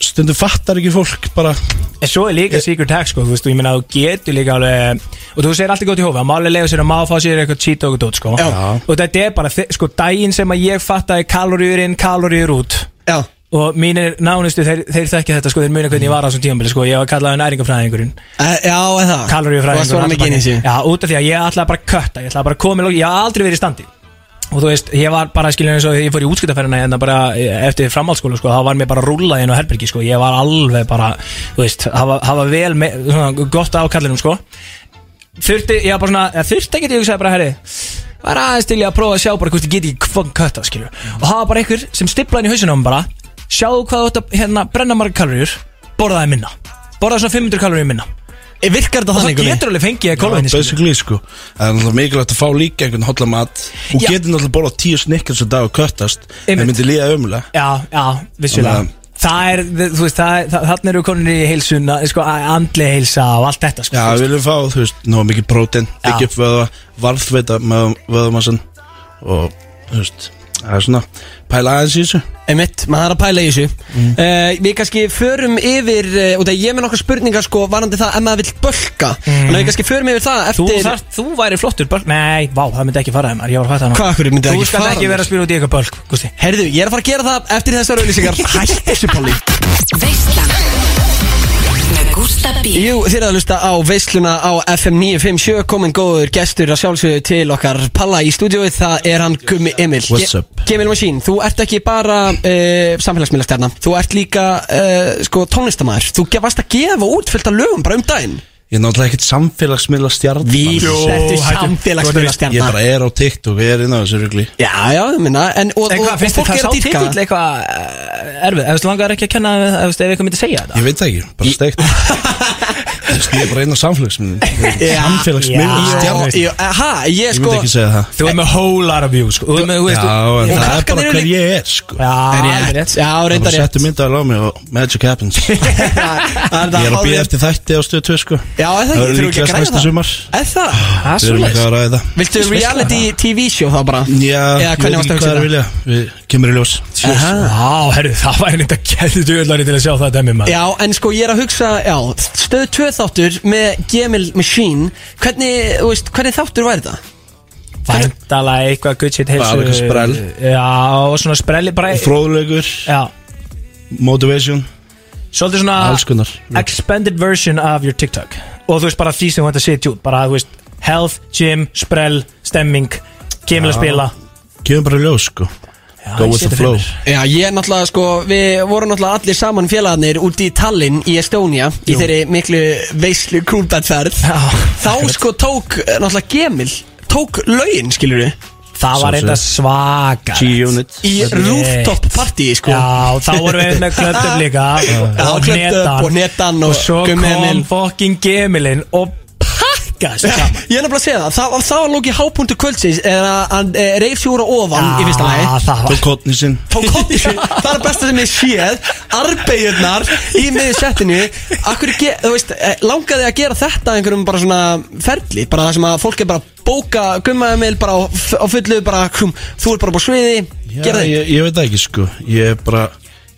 stundum fattar ekki fólk Bara,
En svo er líka secret hack sko, þú veist, og ég meina þú getur líka alveg og þú segir alltaf gott í hófa, máli leiður sér að maður fá sér eitthvað cheat og eitthvað, sko
Já.
og þetta er bara, þi- sko, daginn sem að ég fattaði kaloríur inn, kaloríur út
Já,
og mínir nánustu, þeir, þeir þekki þetta sko, þeir muni hvernig ég var á þessum tímabili, sko, ég var kallaði næringafræðingurinn
Eh, já, er það Þú varst
kaloríufræðingur
svona mikið inn í þessu
Já, út af því að ég ætlaði bara að kötta Ég ætlaði bara að koma í lókin Ég haf aldrei verið í standi Og þú veist, ég var bara skiljum eins og þegar Ég fór í útskiptaferðina En bara eh, eftir framhaldsskóla sko, þá var mér bara rúlað inn á herbergi sko. Ég var alveg bara Þú veist, hafa, hafa vel me, svona, Gott á kallinum sko. Þurfti, ég var bara svona eða Þurfti ekki, ég hugsaði bara, herri Það er aðeins til ég að prófa að sjá bara hvort ég get ekki kvang kötta skilju Og það var bara einhver sem stiplaði inn í hausinu á mér bara Sjáðu hvað þú ætti að hérna, brenna marga kaloríur Borðaði minna Borðaði svona 500 kaloríur minna
Eh, Virkar þetta
og
þannig
það
einhvern veginn?
getur alveg fengið
Já,
kolvinni
basically sko Það er náttúrulega mikilvægt að fá líka einhvern holla mat Hún
Já.
getur náttúrulega borða tíu snikkars að dag og köttast
Einmitt.
Það myndi líða ömulega
já, já, vissulega
Þannig
það er, þú veist, það, það, þannig eru konin í heilsuna, sko, andli heilsa og allt þetta, sko,
Já, við viljum fá, þú veist, ná mikið prótein
Já.
Byggja upp vöðva, varðveita með vöðumassan Og, þú veist, það er svona Pæla aðeins í þessu
Einmitt, maður er að pæla í þessu Eh, Við kannski förum yfir eh, Og það ég er með nokkar spurningar sko Varandi það ef maður vill bölka Þannig að við kannski förum yfir það
þú,
eftir
þar, þú væri flottur bölk, nei, vá, það myndi ekki fara þeim ég var að fatta
Hvað,
það
af hverju myndi það
nú, þú
ekki
skal
fara hérna?
ekki
þér?
vera að spila út í eitthvað bölk, gústi
Herðu, ég er að fara að gera það eftir þessar auðlýsingar Hætt þessu Palli
Veislan Með Gústa B
Jú, þið er að hlusta á veisluna á FM 957 komin góður gestur að sjálfsögðu til okkar Palla í stúdíóið, það er hann Gummi Emil
What's up?
Ge- Gemil Masín, þú ert ekki bara uh, samfélagsmiðlastjarna, þú ert líka uh, sko tónlistamæður, þú ge- varst að gefa út fullt af lögum bara um daginn
Ég er náttúrulega ekkert samfélagsmiðla stjarn
Við ertu
hættu.
Ég
samfélagsmiðlastjarna
bara er á TikTok, ég er inn á þessu rugli
Já, já, ég minna En, og,
en
og,
hvað,
og
finnst þér
fólk
það
er
sá
að dýrka
titill
það.
eitthvað eh, erfið, ef þú langar ekki að kenna ef ef eitthvað myndi segja þetta
Ég veit það ekki, bara steikt Þú veist, ég er bara inn á samfélagsmiðla
Já.
Samfélagsmiðla
Já.
stjarn
Já, já, ha, ég
Ég
sko
myndi ekki segja það
þú er með whole lot of views, sko, þú er með, þú veist,
Já, en það er
krakkarnir
bara
eru
hver
líka-
ég er sko
já, alveg
Rétt,
rétt.
já,
Það
reyndar
bara
rétt
settu myndaðal á mig og Magic Happens Ég
Það
er að
hárrétt.
býða eftir þætti á stöðu 2 sko
Já, er það ekki,
Það
þurfum við
verður
ekki að
líklegast
græða
næsta
það?
sumar.
Er það?
Það er
Við erum
svoleiðis.
ekki að ræða það.
Viltu
Ég veist
reality TV show þá bara?
Já,
Eða
ég veit
hvernig varstu að
ekki
hugsa um
hvað er
það?
vilja Við kemur í ljós
Aha.
Vá, herru, það væri neitt að gerðu djöðlari til að sjá það dæmi maður
Já, en sko ég er að hugsa, já, stöð 2 þáttur með Gemil Machine Hvernig, þú veist, hvernig þáttur væri það?
Væntalega eitthvað good shit heilsu
Bara eitthvað sprell.
Já, og svona sprelli bara
Fróðulegur,
Já,
motivation,
svolítið
Ah.
svona
alls konar
Expanded version of your TikTok Og þú veist bara því sem þú hægt að setja út Bara, þú veist, health, gym, sprell, stemming Kemil að spila
Kemur bara í ljós sko
Ah,
Já,
Go
ég
with
sé
the
þetta
flow
fyrir mér.
Já, ég er náttúrulega, sko, við vorum náttúrulega allir saman félagarnir út í Tallinn í Estónia Í þeirri miklu veislu krúlbættferð
Já.
Þá sko tók, eh, náttúrulega Gemil, tók lögin, skilur við
Það var
Sjálfsögðu.
eitthvað svaka
G-Unit
Í rooftop party, sko
Já, þá vorum við með klöptum líka
Já, Club Dub og Netan og
svo
Gummi Emil.
kom fucking Gemilinn og pakkaði gegga þessu saman
Ég er nefnilega að segja það, það, það var lókið hápunktu kvöldsins er að hann e, reyf sig úr að ofan í fyrsta lagi
það var
Tók kotni sinn
Tók kotti sig, það er að besta sem ég séð Arbeigurnar í miður settinu Akkur, ge, þú veist, eh, langaði að gera þetta einhverjum bara svona ferli Bara það sem að fólk er bara að bóka gummaði meil bara á, f- á fullu bara, hum, Þú er bara bara sviði,
Já,
gera þig
ég, ég veit það ekki sko Ég er bara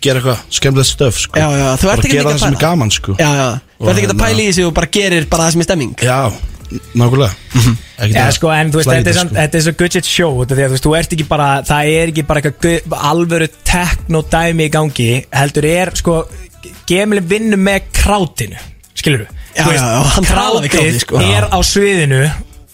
gera eitthvað skemmtilegt stöf sko
Já, já, þú ert
Bara
ekki
gera
að
það sem er gaman sko
Já, já, þú ert ekki að
Og
pæla í þessu og bara gerir bara það sem er stemming
Já, nákvæmlega Ekkert
Já,
að
sko, en þú veist,
flækja
þetta er,
þetta,
samt, þetta er svo good shit show út af því að þú veist, þú ert ekki bara, það er ekki bara eitthvað gu- alvöru teknodæmi í gangi heldur er, sko, gemilin vinnur með krátinu, skilur þú?
Já, já, já, hann talar við krátið, sko.
er á sviðinu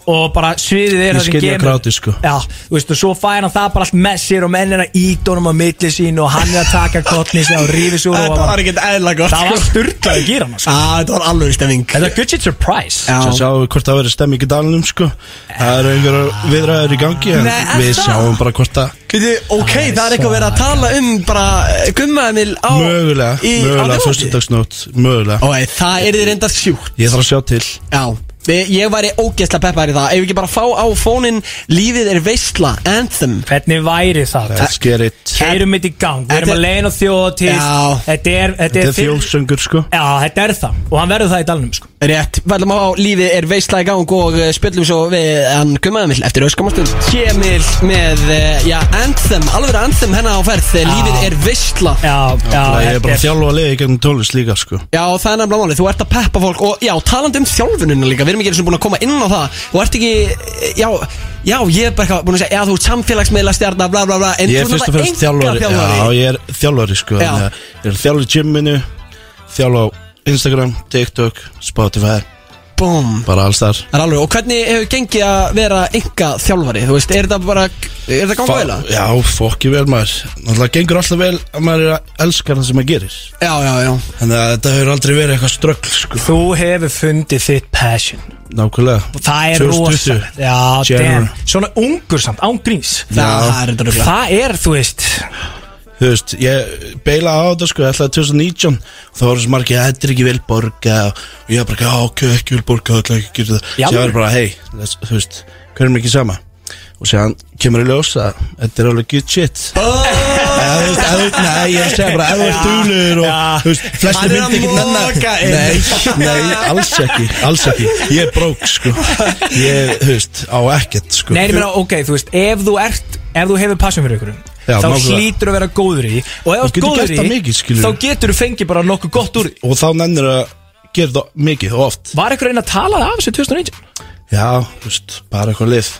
og bara sviðið er
Ég
það sem
skil ég
gemilin
krátið, sko.
Já, þú veist, og svo fær hann það bara allt með sér og menn er að íta honum á milli sín og hann er að taka kottni sér og rífis úr og
Þetta var ekkert eðla gott
það var styrklað að gera hann, sko.
Á, þetta var alveg stemming
Þetta er good shit surprise.
Svo
Já,
sjáum við hvort það verður stemming í dalnum sko Það eru einhverjar viðræður í gangi En
Nei, er
við
það?
sjáum bara hvort það
Veitu, ok, það er eitthvað verið að tala um bara gummaðanil á
Mögulega,
í, á
mögulega,
Þjóðhátíð.
fyrstudagsnót Mögulega,
Ok, það er þið reyndar sjúkt
ég þarf að sjá til
Já, við, ég væri ógeðslega peppar í það Ef við ekki bara fá á fónin Lífið er veistla, anthem
Hvernig væri það?
Let's get it
Keirum mitt í gang, við erum
Þetta-
að leiðin og þjóða til
Já.
Þetta er, þetta
Þetta
er
er þjóðsöngur sko
Já, þetta er það Og hann verður það í dalnum sko
Rétt, við ætlum að fá lífið er veistla í gang og uh, spjöllum svo við hann gummaðanil eftir öskamastund Kemil með, uh, já, anthem, alveg anthem hennar á ferð eh, Lífið er veistla
Já, já,
Það ég er
þetta
bara að
er
þjálfa að leiði gegnum tólist líka sko
Já, það er nefnilega málið, þú ert að peppa fólk og já, talandi um þjálfununa líka, við erum ekki eins og búin að koma inn á það Þú ert ekki, já, já, ég er bara eitthvað búin að segja, já, þú ert samfélagsmiðla stjarnar, bla, bla, bla En
Ég er
þú
fyrst
náttúrulega
og fremst þjálfari
einkaþjálfari.
Já, ég er þjálfari sko
Já.
þannig að Ég er þjálfari í gyminu Þjálfa á Instagram, TikTok, Spotify
Búm,
Bara alls þar
það er alveg, og hvernig hefur gengið að vera enga þjálfari, þú veist, er þetta bara, er þetta ganga veila?
Já, fokki vel maður Náttúrulega gengur alltaf vel að maður er að elska það sem maður gerir
Já, já, já,
Þannig að þetta hefur aldrei verið eitthvað ströggl sko
Þú hefur fundið þitt passion
Nákvæmlega
Það er
2020.
rosalegt Já,
General.
damn Svona ungur samt, án gríns
það það er þetta rugla
Það er, þú veist
Þú veist, ég beilaði á þetta sko, ég ætlaði 2019 þá voru svo margir, þetta er ekki vel borga og ég var bara, já, ok, ekki vel borga það ætlaði ekki að gera það,
Já.
Svo ég var bara, hei let's- þú veist, hverjum ekki sama og séðan kemur í ljós að þetta er alveg good shit oh. eða, þú veist, eða, þú veist, nei, ég er að segja bara eða þú ert dúlur og, þú veist,
Hann
flesti
er að
myndi ekki
moka
nennan
inn.
nei, nei, alls ekki, alls ekki ég er brók, sko ég, þú veist, á ekkert, sko
Nei, ég meina, ok, þú veist Ef þú ert, ef þú hefur passion fyrir ykkur
Já,
Þá
nákvæmlega.
hlýtur að vera góður í Og ef þú
Og
ert
getur
góður
gert
í
það mikið, skilurðu.
Þá getur þú fengið bara nokkuð gott úr því.
og þá nennir að gera það mikið og oft
Var ykkur einn að tala af þessu 2019?
Já, þú veist, bara eitthvað lið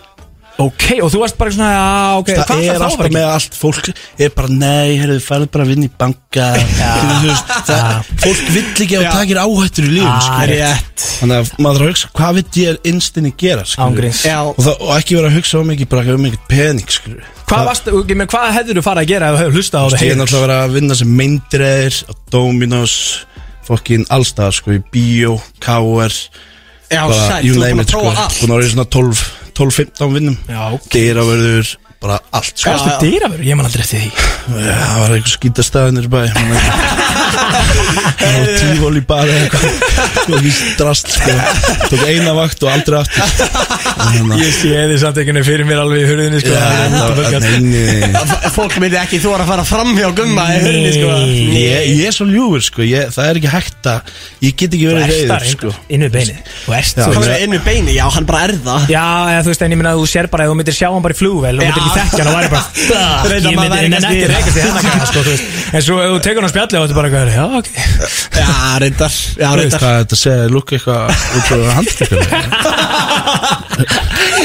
Ok, og þú varst bara svona, já, ok,
Það
hvað
er
það þá var
alltaf
ekki?
með allt Fólk er bara, nei, heyrðu, farðu bara að vinna í banka Þú veist, það, Fólk vill ekki að
Já.
þú takir áhættur í lífum
Ah,
skilur.
Rétt,
Þannig að maður þarf að hugsa, hvað vill ég er innstinni gera skilur.
Ángríns.
já,
og, það, og ekki vera að hugsa um ekki, bara ekki um ekki pening skilur.
Hvað
Það-
varst, ok, menn hvað hefður þú farið að gera ef þú hefur hlustað á það
Ég er náttúrulega að vera að vinna sem meindreðir á Dominos, fokkin allstað sko, í Bíó, KR
já,
bara,
sæl,
you
þú er
name
búin
it
að
sko.
prófa allt
Búin að vera í svona 12 12-15 vinnum
Já, ok.
Dyravörður, bara allt sko.
Hvað varstu dýravörður? Ég man aldrei eftir því
Já, það var eitthvað skítastæðinir bæ Það var tífól í bara eitthvað eitthvað víst drast sko. Tók eina vakt og aldrei aftur hérna- Þannig
Ég sé þið samt ekki fyrir mér alveg í hurðinni, sko
að Neini
Fólk myndi ekki þú að fara fram hjá gumma í hurðinni, sko
Nei.
Ég, ég er svo ljúfur sko, ég, það er ekki hægt að Ég get ekki
Þú
verið
erst
reyður
það
sko
sko. innu beinið Þú erst
Já.
þú
Hvað
veist.
er einu beini, já, hann bara er það
Já, eða, þú veist, en ég minna að þú sér bara að þú myndir sjá hann bara í flugvel og myndir ekki þekkja hann og væri bara "Fuck,
Reyna
Ég
maður
myndir
væri
enn
kannski-
ekki reykast í hennar gæða, sko, þú veist En svo ef þú tekur hann á spjalli og þetta er bara eitthvað, já, ok
Já, reyndar, já,
Þú veist
reyndar
hvað þetta segja, lúk eitthvað út frá handtökum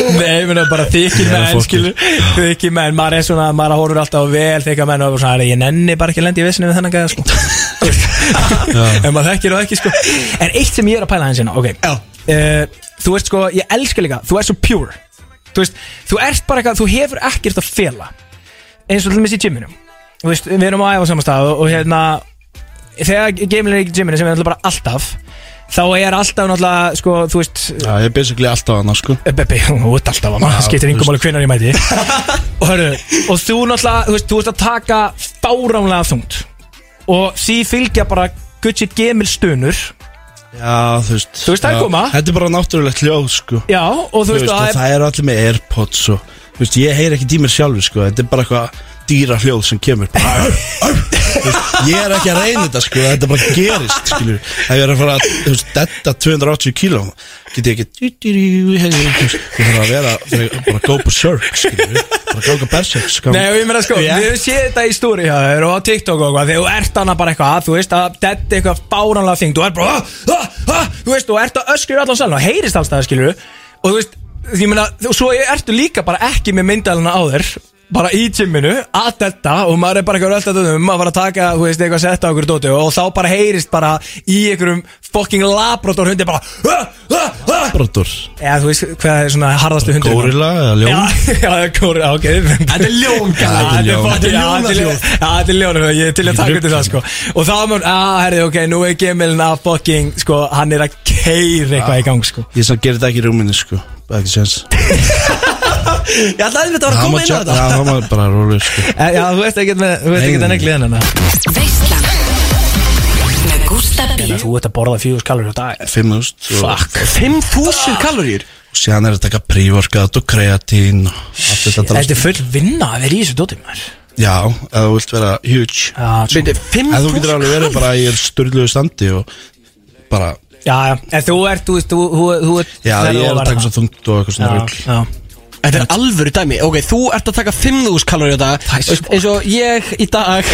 Nei, ég meina bara þykir
Nei,
menn,
fólkið.
skilu Þykir menn, maður er svona, maður horfur alltaf á vel þykir menn og er bara svona, "Æ, ég nenni bara ekki að lenda í vissinni við þennan gæða, sko En maður þekkir það ekki, sko En eitt sem ég er að pæla hans hérna, ok
Já.
Eh, Þú ert sko, ég elska líka, þú ert svo pure Þú veist, þú ert bara eitthvað, þú hefur ekkert að fela Eins og til dæmis í gyminu Þú veist, við erum á æfa samastað og, og hérna Þegar geimlinn er í gyminu sem er náttúrulega bara alltaf Þá er alltaf náttúrulega, sko, þú veist
Já, ég er basically alltaf annars sko
Bebbi, Eh, þú ert alltaf að
Já,
maður skiptir
þú veist.
yngum alveg hvenar ég mæti og, hörru, og þú náttúrulega, þú veist, þú ert að taka fáránlega þungt og því fylgja bara Gucci Gemil stunur
Já, þú veist
Þú veist, það er
já.
koma.
Þetta er bara náttúrulegt hljóð, sko
Já, og þú veist,
og
og það er
það eru allir með Airpods og Þú veist, ég heyr ekki tímir sjálfur, sko Þetta er bara eitthvað dýra hljóð sem kemur bara, arr, arr. Þú veist, Ég er ekki að reyna þetta, sko Þetta bara gerist, skilur Ef ég er að fara, að, þú veist, þetta 280 kíló Get ég ekki dú, dú, dú, heyr, þú veist, Ég þarf að vera, fyrir, bara go berserk, skilur Bara ganga berserk, sko
Nei, og ég meina sko,
Já.
við höfum séð þetta í stúri hjá þér og á TikTok og eitthvað, þegar þú ert annað bara eitthvað, þú veist, að þetta er eitthvað báranlega þing, þú ert bara, ah, ah, ah, þú veist, og ert að öskra í allan salin og heyrist allstæða, skilur og þú veist, ég meina, og svo ertu líka bara ekki með myndalina á þér, bara í gyminu, að þetta, og maður er bara eitthvað röldat um að fara að taka, þú veist, eitthvað að setja á okkur dóti og þá bara heyrist bara í einhverjum fucking labrador hundi bara, ah, ah, ah,
Brotur,
eða þú veist, hvað er svona harðastu hundur
górila eða ljón
Já, já, kóri, já, ok Þetta er ljón,
Já, þetta er ljón.
Þetta er ljónahljóð Já, þetta er ljónahljóð, ég er til að taka undir það, sko Og þá er mjög, að, herri, ok, nú er gemilin að fucking, sko, hann er að keira eitthvað í gang, sko
Ég sann gerir þetta ekki í rúminni, sko Bara Ekki séns
Ég ætlaði að þetta var að
Hann má
koma inn á
tjá-
þetta
Já, það var bara rólu, sko
Eh, Já, þú veist ekkert með, þú veist ekkert að neglið hennan
Veislan Með Gústa B
Þú ert að borða fjús kalur á dag
5.000 og-
5000 kaloríur
síðan er að taka prívorkat og kreatín og allt þetta
Þetta
drast.
er full vinna að vera í þessu dóti, maður
Já, eða þú vilt vera huge
Já, svona.
Beinti,
En þú getur
5000
alveg verið bara í styrluðu standi og bara,
já, já, en þú ert, þú veist, þú, þú, þú ert
já ég
það
er að
óvarlega.
taka svo þungt og eitthvað svona rugl
Já, já
Þetta er alvöru dæmi Ok, þú ert að taka 5000 kaloríu á dag
Það er
Veist,
svo-
eins og ég í dag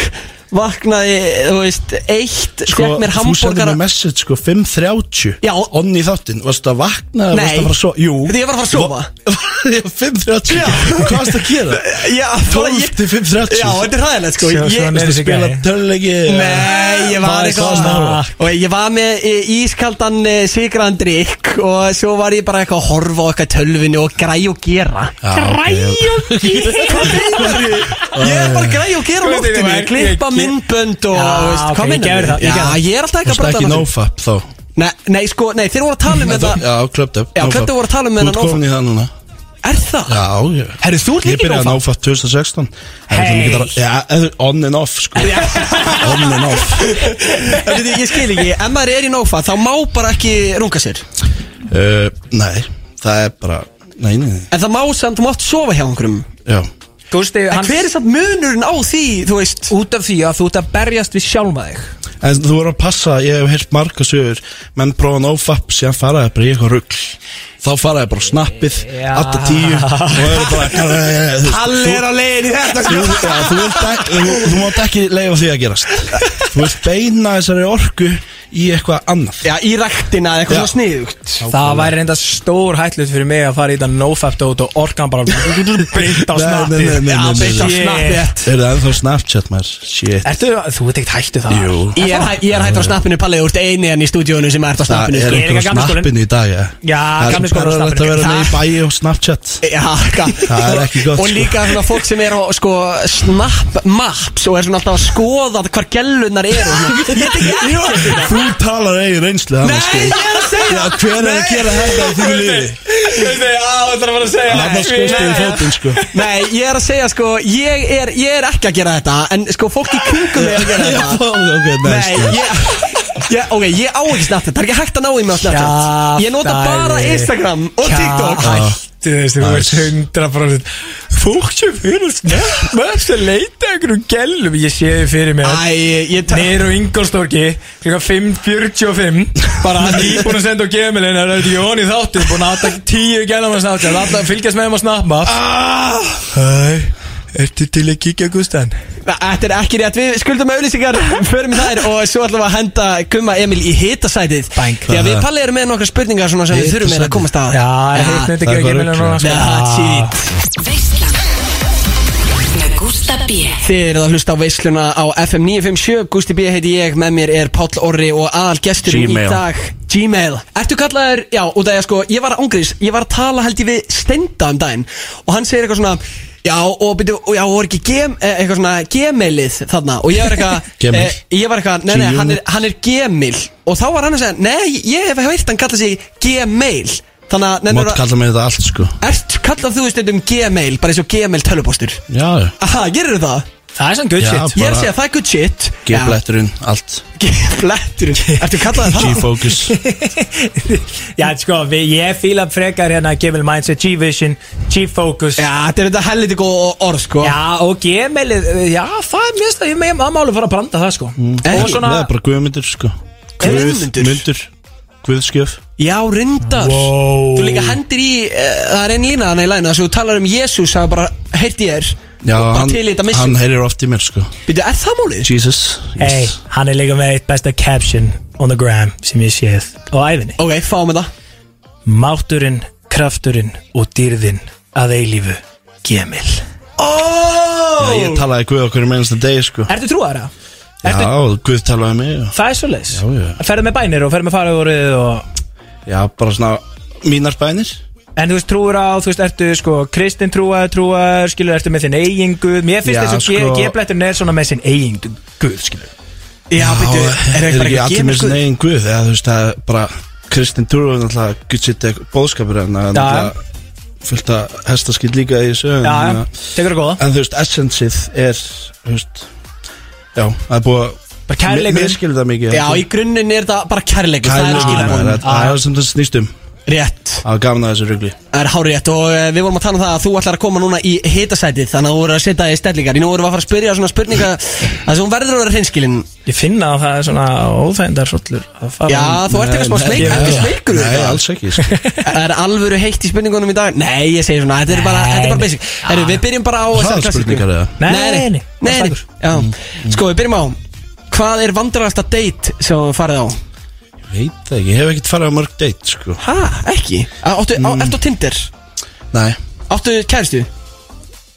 vaknaði, þú veist, eitt sko,
Sko,
Fekk mér
þú sendir
hambúrgara
mér message sko 5.30
Já.
Onni í þáttinn, varstu að vakna eða
Nei.
varstu að fara að sofa? Jú
Ég var að fara að sofa.
Já, 5.30 Hvað varstu að gera?
Já, bara
12
ég-
til 5.30
Já, þetta er hræðilegt sko
Sjá,
Ég-
svona er þessi
Spila
gæi.
töluleiki
Nei, ég var eitthvað
svona.
Og ég var með e, ískaldan e, sigraðan drikk Og svo var ég bara eitthvað að horfa á eitthvað í tölvinu Og græ og gera
Græja
Ég er bara græ og gera á
Guð, ég
loftinu
var-
Klippa
ég-
myndbönd og
Já,
veist,
ok,
hvað
ég
meinarðu?
gerði það, ég
Já,
gerði það.
ég er alltaf
Þú
ekki að
stakki
brönda
nofap þá
Nei, nei, sko, nei, þeir voru að tala um þetta
Já, klöpt upp
Já, Clubbed Up voru að tala um þennan
Þú ert komin í það núna
Er það?
Já, ég
Herru, þú ert
Ég
líka í
byrjaði að
nófa
náfa 2016 En
Hey.
það mikið þar- Já, eða on and off sko On and off
Ég ég skil ekki, ef maður er í nófa Þá má bara ekki runga sér
uh, Nei, það er bara Nei, nei, nei
En það má samt, þú mátt sofa hjá einhverjum
Já
Gústi,
En
hann
hver er samt munurinn á því, þú veist
út af því að þú ert að berjast við sjálma þig
En þú voru að passa, ég hef heyrt marga sögur Menn prófa nofap, síðan faraði bara í eitthvað rugl Þá faraði bara á snappið
Já.
Alltaf tíu Og eru bara Palli
á leiðin í þetta
Þú, já, þú, vilt ekki, þú, þú mátt ekki leifa því að gerast Þú vilt beina þessari orku í eitthvað annað
Já, í ræktina eða eitthvað
Já.
svona sniðugt
Það væri reynda stór hætlut fyrir mig að fara í þetta nofap dót og orkan bara beint á
Nei, nei,
snappi
nei, nei,
Já,
nei,
beint á
nei.
snappi
Er það ennþá Snapchat maður? Shit
Ertu, þú ert ekkert hættu það
Jú
Ég er, hæ- ég er hættur á snappinu, Palli, þú ert eini enn í stúdíónu sem ert á
Það
snappinu
er
sko.
ekki
einhver á
gamli skólinn.
snappinu í dag ja.
Já,
Það er
gamli
svo
skólinn á
bara að
snappinu.
vera með í
Það-
bæi og Snapchat
Já, ga-
Það er ekki gott,
Og
sko.
líka svona fólk sem er á sko, snap maps og er svona alltaf að skoða hvar gellunar eru svona. Ég tek ekki eftir þetta.
Þú talar eigin reynslu
Nei,
sko.
ég er að segja
Já, hver er að gera þetta á þínu liði?
Það er bara að segja
Annars skoðstu í fótinn sko
Nei, ég er að segja sko, ég er, ég er ekki að gera þetta En sko, fólk í kringum er að gera
Já,
þetta
ok, sko.
Nei, sko.
næst
ég, ég, ok, ég á ekki Snapchat Það er ekki hægt að ná í mig á Snapchat
Kjaftæði.
Ég nota bara Instagram og TikTok
Hættu þessu, þú ert 100% Fólk sem fyrir snappi Maður sem leita einhverjum gælum Ég sé þið fyrir mér
Æ, ég ta-
Nýr og Ingolstorki klukkan 5.45 bara nýbúin að senda á gemilin er þetta Jón í þáttu búin að taka tíu gælum að snappa alltaf að fylgjast með þeim að snappa Hæ, ertu til að kíkja Gustan?
Þetta er ekki rétt, við skuldum auðlýsingar Förum í þær og svo ætlum við að henda Gumma Emil í hitasætið
Bang.
Því að við palli erum með nokkra spurningar svona sem við þurfum meira að komast að
Já, ég hefði þetta
Ah, það
ekki að
er
gemilin
bara
núna sko.
Nah,
Ah.
shit.
Veislan Með Gústa B
Þið eruð að hlusta á veisluna á FM 957 Gusti B heiti ég, með mér er Páll Orri og aðal gestur í
Gmail.
dag Gmail Ertu kallaður, já, út af ég sko, ég var ángriðs Ég var að tala held ég við Steinda um daginn Og hann segir eitthvað svona Já, og byrju, og já, og er ekki gem, eh, eitthvað svona gemailið þarna Og ég var eitthvað,
Gemil.
eh, ég var eitthvað, nei, nei, hann er, hann er gemil Og þá var hann að segja, nei, ég hef heyrt hann kalla sig gemail Þannig að, nei,
Mátt
nefnir að,
kalla mig þetta allt sko
ert kallað þú veist um gemail, bara eins og gemail tölupóstur
Já, já
Aha, gerir það?
Það er sann good
Já,
shit
Ég er að segja, það er good shit Já.
G-bletturinn, allt
G-bletturinn, ertu kallað það?
G-focus
Já, sko, við, ég fíla frekar hérna Gimil Mindset, G-Vision, G-Focus
Já, þetta er þetta helviti góð orð, sko
Já, og Gmailið, já, það er mjög stæð, ég með að máli fara að branda það, sko
Mm.
Ekki,
Og svona,
Það er bara guðmyndir sko
Guðmundur?
Guðmyndir Guðskjöf
Já, rindar
Wow.
Þú líka hendir í, uh, það er einn lína þannig í læna Þess að þú talar um Jésús, það er bara, heyrti ég þér
Já,
Og bara
hann,
til í þetta
hann
missun
heyrir oft í mér sko
Býtu, er það málið?
Jesus
hey,
yes.
hann er líka með eitt besta caption on the gram sem ég séð á æfinni
Ok, fáum við það
Mátturinn, krafturinn og dýrðinn að eilífu Gmail
oh!
Ég talaði guð okkur í mennsta degi sko
Ertu trúar það?
Já,
Ertu,
guð talaði um mig og-
það er svoleiðis
Já, já.
Ferðu með bænir og ferðu með farugorið og
Já, bara svona mínar bænir
En þú veist, trúur á, þú veist, ertu sko kristin trúar, trúar, skilur, ertu með þinn eigin guð Mér finnst
Já,
þess að
sko-
sko... geblætturinn er svona með sinn eigin guð, skilur
Já, býtu, er
er
ekki
ekki
bara ekki
allir með
gemur
sinna eigin guð eða þú veist það er bara Kristinn Túrú er náttúrulega gutt sitt bóðskapur en það er
Já.
náttúrulega fullt að hestaskill líka í sögum
Já, já,
en,
tekur það góða
en þú veist essenceið er þú veist já, það er búið að
Bara kærleikurinn.
mér skilur það mikið
Já, í grunninn er það bara kærleikur Það er
kærleikurinn, það
skilabóðin
er- það er sem það snýst um
Rétt
það er gaman að þessu rugli
Það er hárétt og eh, við vorum að tala um það að þú ætlar að koma núna í hitasætið Þannig að þú voru að setja það í stellingar Í nú vorum við að fara að spyrja svona spurninga Það sem hún verður að vera hreinskilin
Ég finna að það er svona óþægindar svolur
Já, þú ert eitthvað smá
Nei,
smeyk
ég-
Ertu smeykur við
nei,
þetta?
alls ekki sko.
Það er alvöru heitt í spurningunum í dag Nei, ég segi svona, þetta er bara,
Nei,
þetta er bara
nei.
basic Herru, við byrjum bara á
Hraðaspurningar eða?
Nei,
Nei, nei,
nei,
nei,
bara
nei. Já. Sko, við byrjum á Hvað er vandrarasta date sem þú farið á?
veit það ekki, ég hef ekkert farið á mörg date sko
Ha, ekki? Á, Áttu, á, ertu á Tinder?
nei,
Áttu kæristu?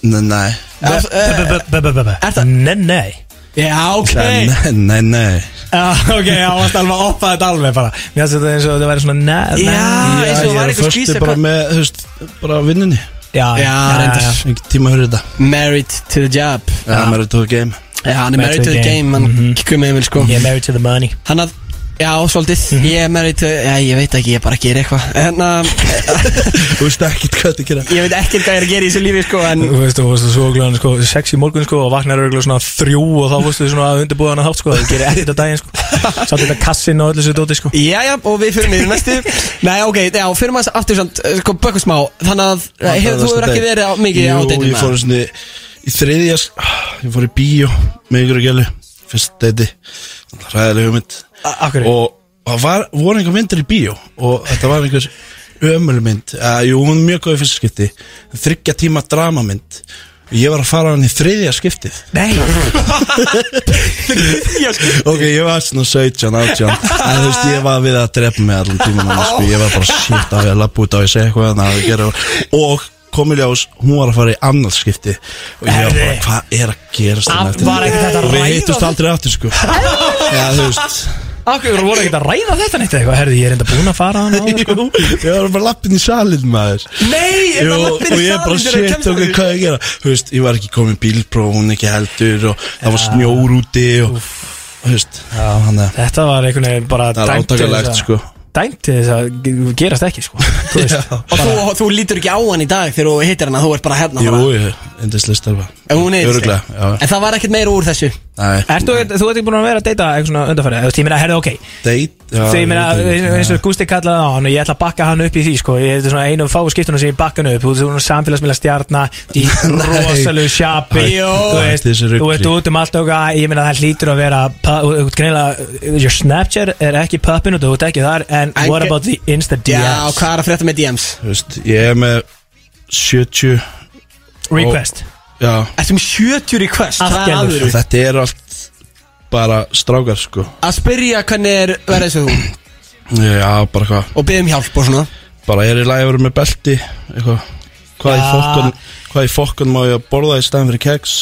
nei, nei
Af- eh, Er það-
Nei, nei
Já, ok
Nei, nei, nei
Já, Ok, já, varst alveg að oppa þetta alveg bara Mér finnst þetta eins og þetta væri svona ne-
Já,
ne-
eins og
Já, ég
það var
er
eitthvað
fyrstu
skvísa
bara með, þú veist, bara vinnunni
Já,
Já, reyndar.
Ekki tíma að höra þetta
Married to the job
Já, maður er tóð game
Já, hann er married to the game Hann mm -hmm. komið yfir sko
Ég er married to the money
Hann að Já, svolítið Ég er married to Já, ég veit ekki Ég bara gerir eitthvað En um, að
Þú veist ekkert hvað þetta gera
Ég veit ekkert hvað ég er að gera í þessu lífi sko En
Þú veist, þú veist, svo glæðan, sko, sex í morgun, sko, og vaknar örgulega svona þrjú og þá fórstu svona að undirbúða hana þátt, sko, það gerir ekkert á daginn, sko, satt þetta kassin og öllu sér dóti, sko.
Jæja, og við fyrir niður í næstu Nei, ok, já, fyrir maður aftur samt eh, Sko, bökum smá Þannig að eh, hefur þú hefur ekki verið á, mikið á
Jú, ég
deitum
fór svona Í þriðja Ég fór í bíó Með ykkur og gælu Fyrst deiti Ræðileg hugmynd
Akkur,
Og það var, voru einhver myndir í bíó Og þetta var einhver ömulmynd uh, Jú, hún er mjög góð í fyrsta skipti Þryggja tíma dramamynd Og ég var að fara á hann í þriðja skiptið
nei,
Ok, ég var svona 17, 18 En þú veist, ég var við að drepa mig allan tíman sko. Ég var bara shit á ég að labba út á ég segja eitthvað þannig að ég gera Og komið ljós, hún var að fara í annars skipti Og ég var bara,
Herri.
hvað er að gerast
Af-
þarna eftir
var ekkert þetta
Og við
ræða
hittust
þetta?
aldrei aftur, sko Já, þú veist
akkur voru ekkert að ræða þetta neitt eitthvað, herði, ég er enda búin að fara hana á, sko.
Jú, ég var bara lappin í salin, maður
Nei,
Jú, og ég bara shit, ok, hvað er að gera Þú veist, ég var ekki komin bílpróf, hún ekki heldur Og það var snjór úti Og, þú veist, þannig að
Þetta var einhvern veginn bara
Það er
dæmt til þess
átakalegt,
að-
sko
Dæmt til þess að ge- gerast ekki, sko Þú veist,
Og þú, þú lítur ekki á hann í dag þegar þú hittir hann að þú ert bara hérna
Jú,
bara,
ég- yndislega starfa
En hún er
Örugglega, já.
En það var ekkert meira úr þessu
Nei,
Ertu, þú ert ekki búin að vera að deyta eitthvað svona undanfæri Þú veist, ég meina, herði, ok
date já,
Þegar ég meina,
veit ekki,
eins
já.
og Gústi kallaði á hann og Ég ætla að bakka hann upp í því, sko Ég þetta er svona einu fáu skiptunum sem ég bakka hann upp Þú ert svona samfélagsmiðla stjarna Í rosalegu sjapi
Hæ,
Þú veist,
hætti þessu
þú
rugli.
ert út um allt og að- Ég meina, það hlýtur að vera pa- þú ert greinilega- Your Snapchat er ekki puppin og þú ert ekki þar En
En
what
ge-
about the Insta
Já,
DMs?
hvað er að frétta með DMs?
Þú veist, ég er með 70
Request
Já,
Ertu með 70 request?
Allt
Það er
gerður.
alvöru.
þetta er allt bara strákar sko
Að spyrja hvernig er verið þessu þú
Já, bara hvað
Og beðum hjálp og svona
Bara er í lagi að vera með belti Eitthvað Hvað í
Já.
fokkun Hvað í fokkun má ég að borða í staðan fyrir keks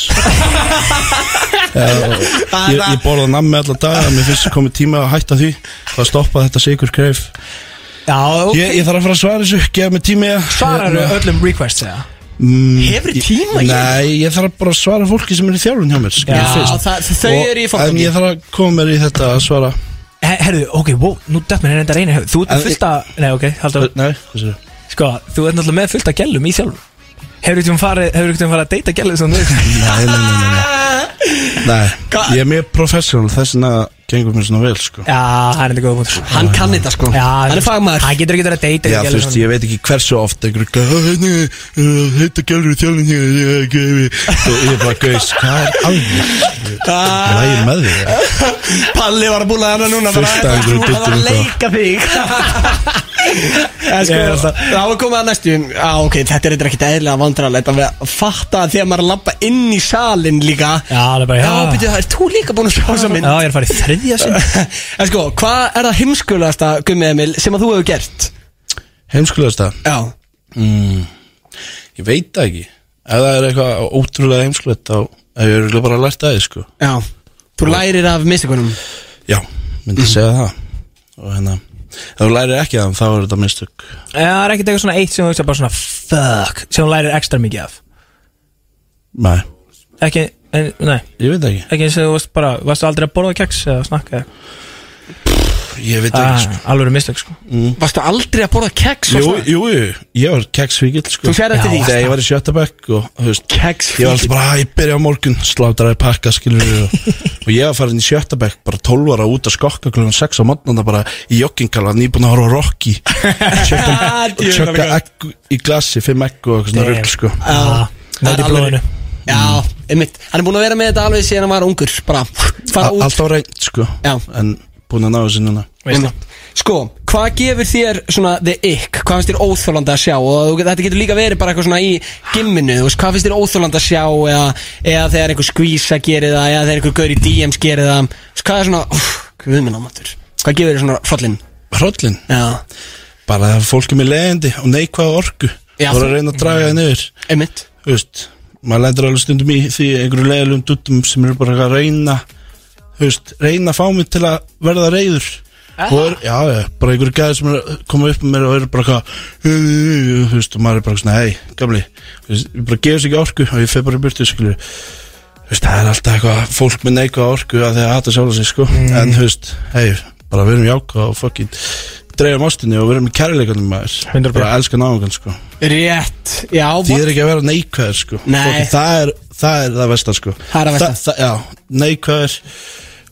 Já, og ég, ég borða nammi alla daga Mér finnst komið tíma að hætta því Það stoppa þetta sigur kreif
Já, ok
ég, ég þarf að fara að svara þessu Gefa mig tími að-
Svaraðu
Hérna, mm,
öllum requests eða?
Hefur tíma í
Nei, ég þarf bara að svara fólki sem er í þjálfun hjá mér skilur
Já,
þú fyrst.
það- þau
Og-
eru í forgangi.
En ég þarf að koma mér í þetta að svara
Her, herðu, ok, wow, nú dætt mér reynda reynir Þú ert með
En-
fullt að, nei ok, haldur
Nei, þessu
Sko, þú ert náttúrulega með fullt að gælum í þjálfum Hefur þú farið Hefur þú farið að deyta gælið sem þú
Nei, nei, nei, nei, nei. nei Ég er mér professional þess vegna gengur mér svona vel sko.
Já, hann er þetta góða punktur
Hann kann þetta sko
Já,
Hann er fagmaður
Hann getur ekki verið að deyta
Já, þú veist, ég veit ekki hversu oft einhver hérna, eh, heita gælur í þjálfinn ég er bara gauðis hvað er alveg lægi með því
Palli var að búla hana núna
Fullt af einhverju
Hún var að
duttum
leika þig En
Ég er
sko,
alltaf-
þá er komið að næstu Á, ok, þetta er eitthvað ekkert eðlilega vandrarlegt að fatta að þegar maður lappa inn í salin líka
Já, það er bara
Já, byrju, það er þú líka búin að sjá þessa mynd
Já, ég er farið í þriðja sinn
En sko, hvað er það heimskulegasta, Gummi Emil, sem að þú hefur gert?
Heimskulegast það?
Já
Ég veit það ekki Ef það er eitthvað ótrúlega heimskulegt þá hef ég örugglega bara lært að því sko
Já Þú lærir af mistikunum
Já, myndi segja það og hérna, ef þú lærir ekki það þá er þetta mistök
Já, það er ekkert eitthvað svona eitt sem þú veist bara svona Fuck Sem hún lærir ekstra mikið af
Nei,
Ekki, en, nei
ég veit það ekki
Ekki eins og þú veist bara Varstu aldrei að borða keks eða snakka eða
Ég veit það ekki
ah,
sko
Alveg mistök sko
Varstu aldrei að borða keks og
Ah, Jú,
svona?
jú, jú, ég var keksfíkil sko
Þú sér eftir því?
Þegar ég var í sjötta bekk og þú veist
Keksfíkill.
Ég var alltaf bara, "Ah, ég byrja á morgun, slátraði pakka skilur við og, og ég var farin í sjötta bekk bara 12 ára út að skokka klukkan 6 á morgun bara í joggingkala, nýbúin að horfa á Rocky
Ah,
Tjökka- og
djöfull, það
tjökka
er
egg í glassi, 5 egg og eitthvað svona
Damn.
rugg sko
Já,
Það er í
alveg-
blóðinu
Já, einmitt Hann er búin að vera með þetta alveg síðan hann var ungur Bara fara
A-
út
Allt á reynd sko
Já.
En búin að ná þessu núna
Veist
Einmitt. Sko, hvað gefur þér svona the ick? Hvað finnst þér óþólandi að sjá? Og þú- þetta getur líka verið bara eitthvað svona í gimminu þú veist, Hvað finnst þér óþólandi að sjá? Eða, eða þegar einhver skvísa gerir það Eða þegar einhver gaur í DMs gerir það Þú veist, Hvað er svona, úff, guðminn ámáttur Hvað gefur þér svona hrollin?
Hrollin,
Já,
bara að fólk er með leiðindi og neikvæða orku
Já,
Þú voru
þú-
að reyna að draga það niður
einmitt
þú veist, maður lendur alveg stundum í því einhverju leiðilegum duttum sem eru bara að reyna þú veist, reyna að fá mig til að verða reyður og er, já, já, bara einhverju gæði sem er að koma upp með mér og eru bara eitthvað "Hu, hu, hu", þú veist, og maður er bara svona, hei, gamli þú veist, ég bara gefur sér ekki orku og ég fer bara í burtu, skilur þú veist, það er alltaf eitthvað fólk með neikvað orku að þegar hata sjálf sig, sko en þú veist, hei, bara verum jáka og fucking dreifum ástinni og verum í kærleikunum maður,
100%.
bara elska náungan, sko
Rétt, já,
Því er ekki að vera neikvæður sko
Nei.
Fólki, það, er, það er það vestar sko
Það er það versta.
það, Já, neikvæður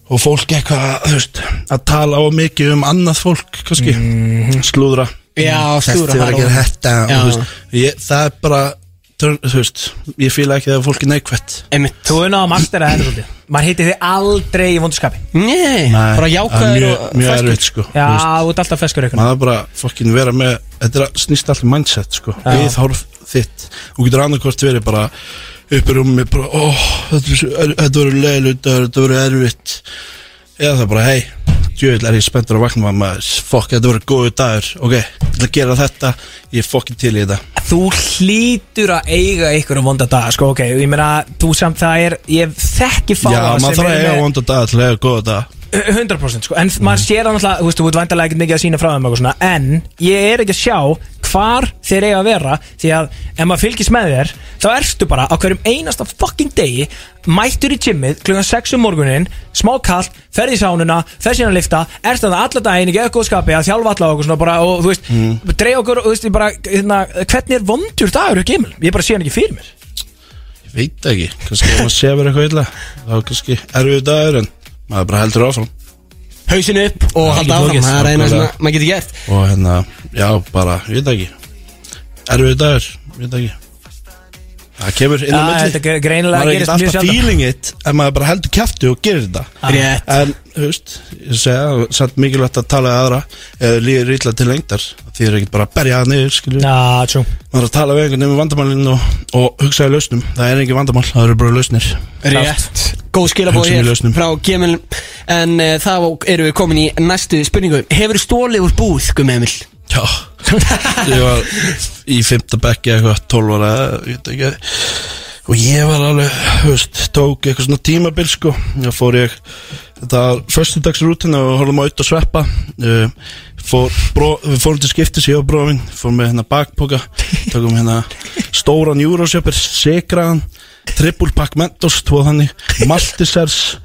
Og fólk eitthvað, þú veist Að tala á mikið um annað fólk kannski,
Mhm.
Slúðra
já, stúra
Þessi var að gera þetta og,
Já.
þú veist, ég, Það er bara, turn- þú veist Ég fíla ekki þegar fólk er neikvætt
Einmitt
Þú er náða mastera þetta svolítið Maður hittir þig aldrei í vondurskapi
Nei, bara
það er
jákvæður
Mjög,
og
mjög
feskur.
erfitt sko
Já,
þú veist.
þú ert alltaf feskur eitthvað
maður er bara fokkin vera með þetta er að snýst allir mindset sko
Já.
viðhorf þitt og getur annarkvort verið bara upp í rúmi bara, oh, þetta, er svo- er- þetta verður leilut þetta verður erfitt eða það bara hei djöðl er ég spenntur að vakna maður fokk þetta verður góðu dagur ok ég ætla að gera þetta ég er fokkin til í þetta
Þú hlýtur að eiga einhverjum vonda daga, sko, ok, ég meina, þú samt það er, ég þekki fáa
já maður þarf að eiga vonda dag til að eiga góða dag
100% sko, en maður sér það náttúrulega, þú veist, þú veit vandalega ekkert mikið að sína frá þeim og eitthvað svona, en ég er ekki að sjá hvar þeir eiga að vera, því að ef maður fylgist með þér, þá ertu bara á hverjum einasta fucking degi, mættur í gymmið, klukkan 6 um morgunin, smá kallt, ferð í sánuna, ferð síðan að lifta, ert að það alla daginn, ekki eitthvað skapi, að þjálfa alla og eitthvað svona bara, og þú veist, mm. dreif okkur, og þú veist, ég bara, hérna, hvernig er vondur dagur hjá Gimil? Ég bara sé hann ekki fyrir mér.
ég veit það ekki kannski ef maður sefur eitthvað illa þá er kannski erfiðu dagur en maður bara heldur áfram
Hausin upp og halda áfram
ekki flókið.
Það er eina sem
Nákvæmlega.
að- maður getur gert
og hérna, já, bara, ég veit það ekki erfið dagur, ég veit það ekki það kemur inn á
Já,
milli
þetta gre- greinilega
maður er
gerist
ekkert
mjög
alltaf
sjaldan.
feeling it en maður bara heldur kæftu og gerir þetta
Rétt.
en, þú veist, ég segja samt mikilvægt að tala við aðra eða líður illa til lengdar því er ekkert bara að berja það niður, skilju
Já, tjú.
maður er að tala við einhvern veginn um vandamálinn og, og hugsaði lausnum, það er ekki vandamál það eru bara lausnir
Rétt Góð skilabóð
Hugsa mér
hér
lausnum.
frá Gemil En uh, þá eru við komin í næstu spurningu Hefur stólið úr búð, Gummi Emil?
Já Ég var í fymta bekki eitthvað 12 ára ég veit ekki, og ég var alveg þú veist, tók eitthvað svona tímabil sko þá fór ég þetta var föstudagsrútina og horfum á auðvitað að sveppa uh, fór, bró, við fórum til skiptis ég og brófin fór með hérna bakpoka tókum hérna stóran júrósjöpir sigraðan trippulpakk mentos tvoð þannig maltisers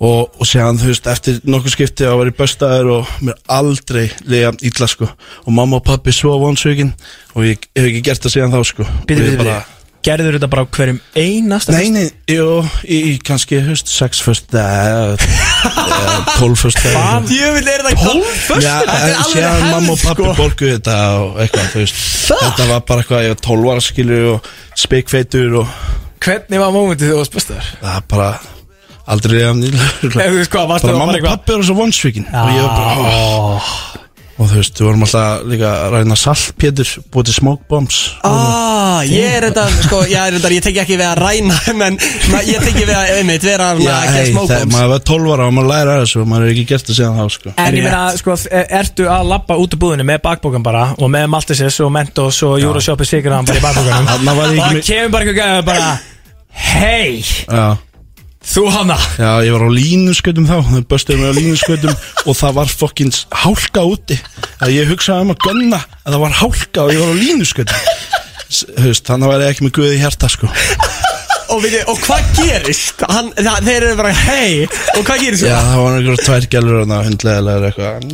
og, og séðan þú veist eftir nokkuð skipti að var ég bestaður og mér aldrei lega illa sko og mamma og pappi svo vonsugin og ég hef ekki gert það séðan þá sko
Býtu,
Og ég
býtu,
bara-
býtu Gerður þetta bara á hverjum einasta
Nei, nei, jú, í, í kannski, þú veist, 6 fyrst, eða, eða, 12 fyrst
Hvað? Ég vil er það
Já, en síðan mamma og
sko.
pappi borguðu þetta og eitthvað, þú veist Þetta var bara eitthvað, ég var 12 ára skilur og speikfeitur og
Hvernig var mómentið þú varst bestaður?
það er bara aldrei reyðan nýlur
Nei, þú veist hvað, varstu
Bara
það
mamma
bara
og
eitthvað
pappi eru svo vonsvikin og ég var
Ah.
bara, ó Og þú veist, við vorum alltaf líka að ræna saltpétur, búið til smoke bombs
Ah, ég er þetta, sko, ég er þetta, ég tengi ekki við að ræna, menn, ma- ég tengi við að, einmitt, vera að
Já,
gera
hei,
smoke
þegar
bombs.
maður var 12 ára og maður læra þessu og maður hefur ekki gert það síðan þá, sko
En ég meina, sko, e- ertu að labba út úr búðinu með bakbókan bara og með Maltesis og Mentos og Euroshoppi sigur hann bara í bakbókanum
Þarna var
og
ég ekki
það
með-
kemur bara eitthvað gæði bara Hei,
Já
þú hana
Já, ég var á línuskötum þá, þau böstuðu mig á línuskötum og það var fokkins hálka úti að ég hugsaði um að gunna að það var hálka og ég var á línuskötum S- þú veist, þannig var ég ekki með guði í hjarta sko
Og, við, og hvað gerist? Hann, það, þeir eru bara, hei, og hvað gerist?
Já, það var einhverjum tvær gælur og hundlegaðilegar eitthvað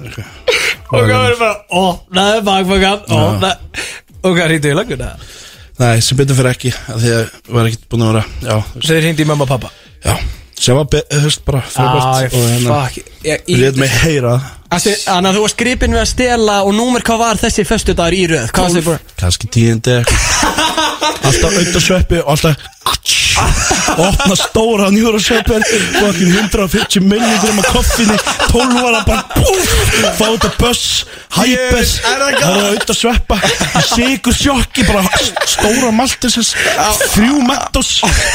Og það verður bara, opnaðu bakbókan opnaðu Og hvað hýttu í lögguna?
Nei, sem betur fyrir ekki, að því að ég var ekkert búin að vera Já, þú veist,
Svo þið hindi í mamma og pappa
já sem var, be- þú veist, bara
Æ,
frábært og hérna,
fuck Ég-
ég
í-
let mig heyra það.
Ætli- Þannig að þú var skripin við að stela og númer hvað var þessi föstu dagur í röð? Hvað var þessi?
kannski tíðindi eða eitthvað alltaf auðvitað sveppi og alltaf Atsch! opna stóra njúrasveppin fucking 150 milligram af koffinni 12 ára bara búf fá þetta buss, hæpes það var auðvitað sveppa sigur sjokki, bara stóra maltisins þrjú mentos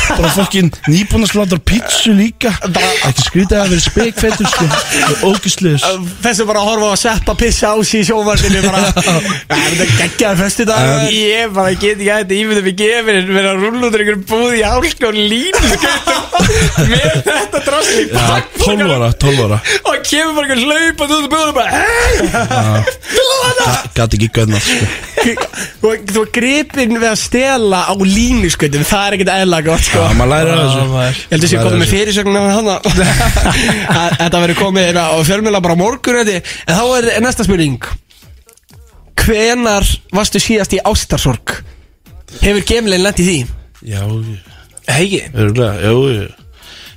bara fucking nýbúnarslátur pítsu líka ekki skrítið að það verið spekfeitur sko, ógisliðis
Þessi bara að horfa á að seppa pissa á sig í sjóvarpinu bara, "Ja, þetta er geggjaði föstu dagur.
Ég bara get ekki að þetta ímyndum í gefin en vera að rúlla út úr einhverjum búð í hálsk og línu skautum með þetta drasli í
Já, 12 ára, 12 ára
og kemur bara einhver hlaupandi út úr búðunum bara "Hey!"
Gat ekki gönnað sko
Þú þú var gripin við að stela á línu, skoðum, það er ekkert eðla gott, sko.
Já, maður læra þessu
Ég held að sé
Maður
komið með
þessu.
fyrirsögnum hana Að- Þetta verður komið hérna á fjölmjöla bara á morgun þetta. En þá er er næsta spurning Hvenar varstu síðast í ástarsorg? Hefur gemlein lent í því?
Já,
Hegi
örgulega, jú, jú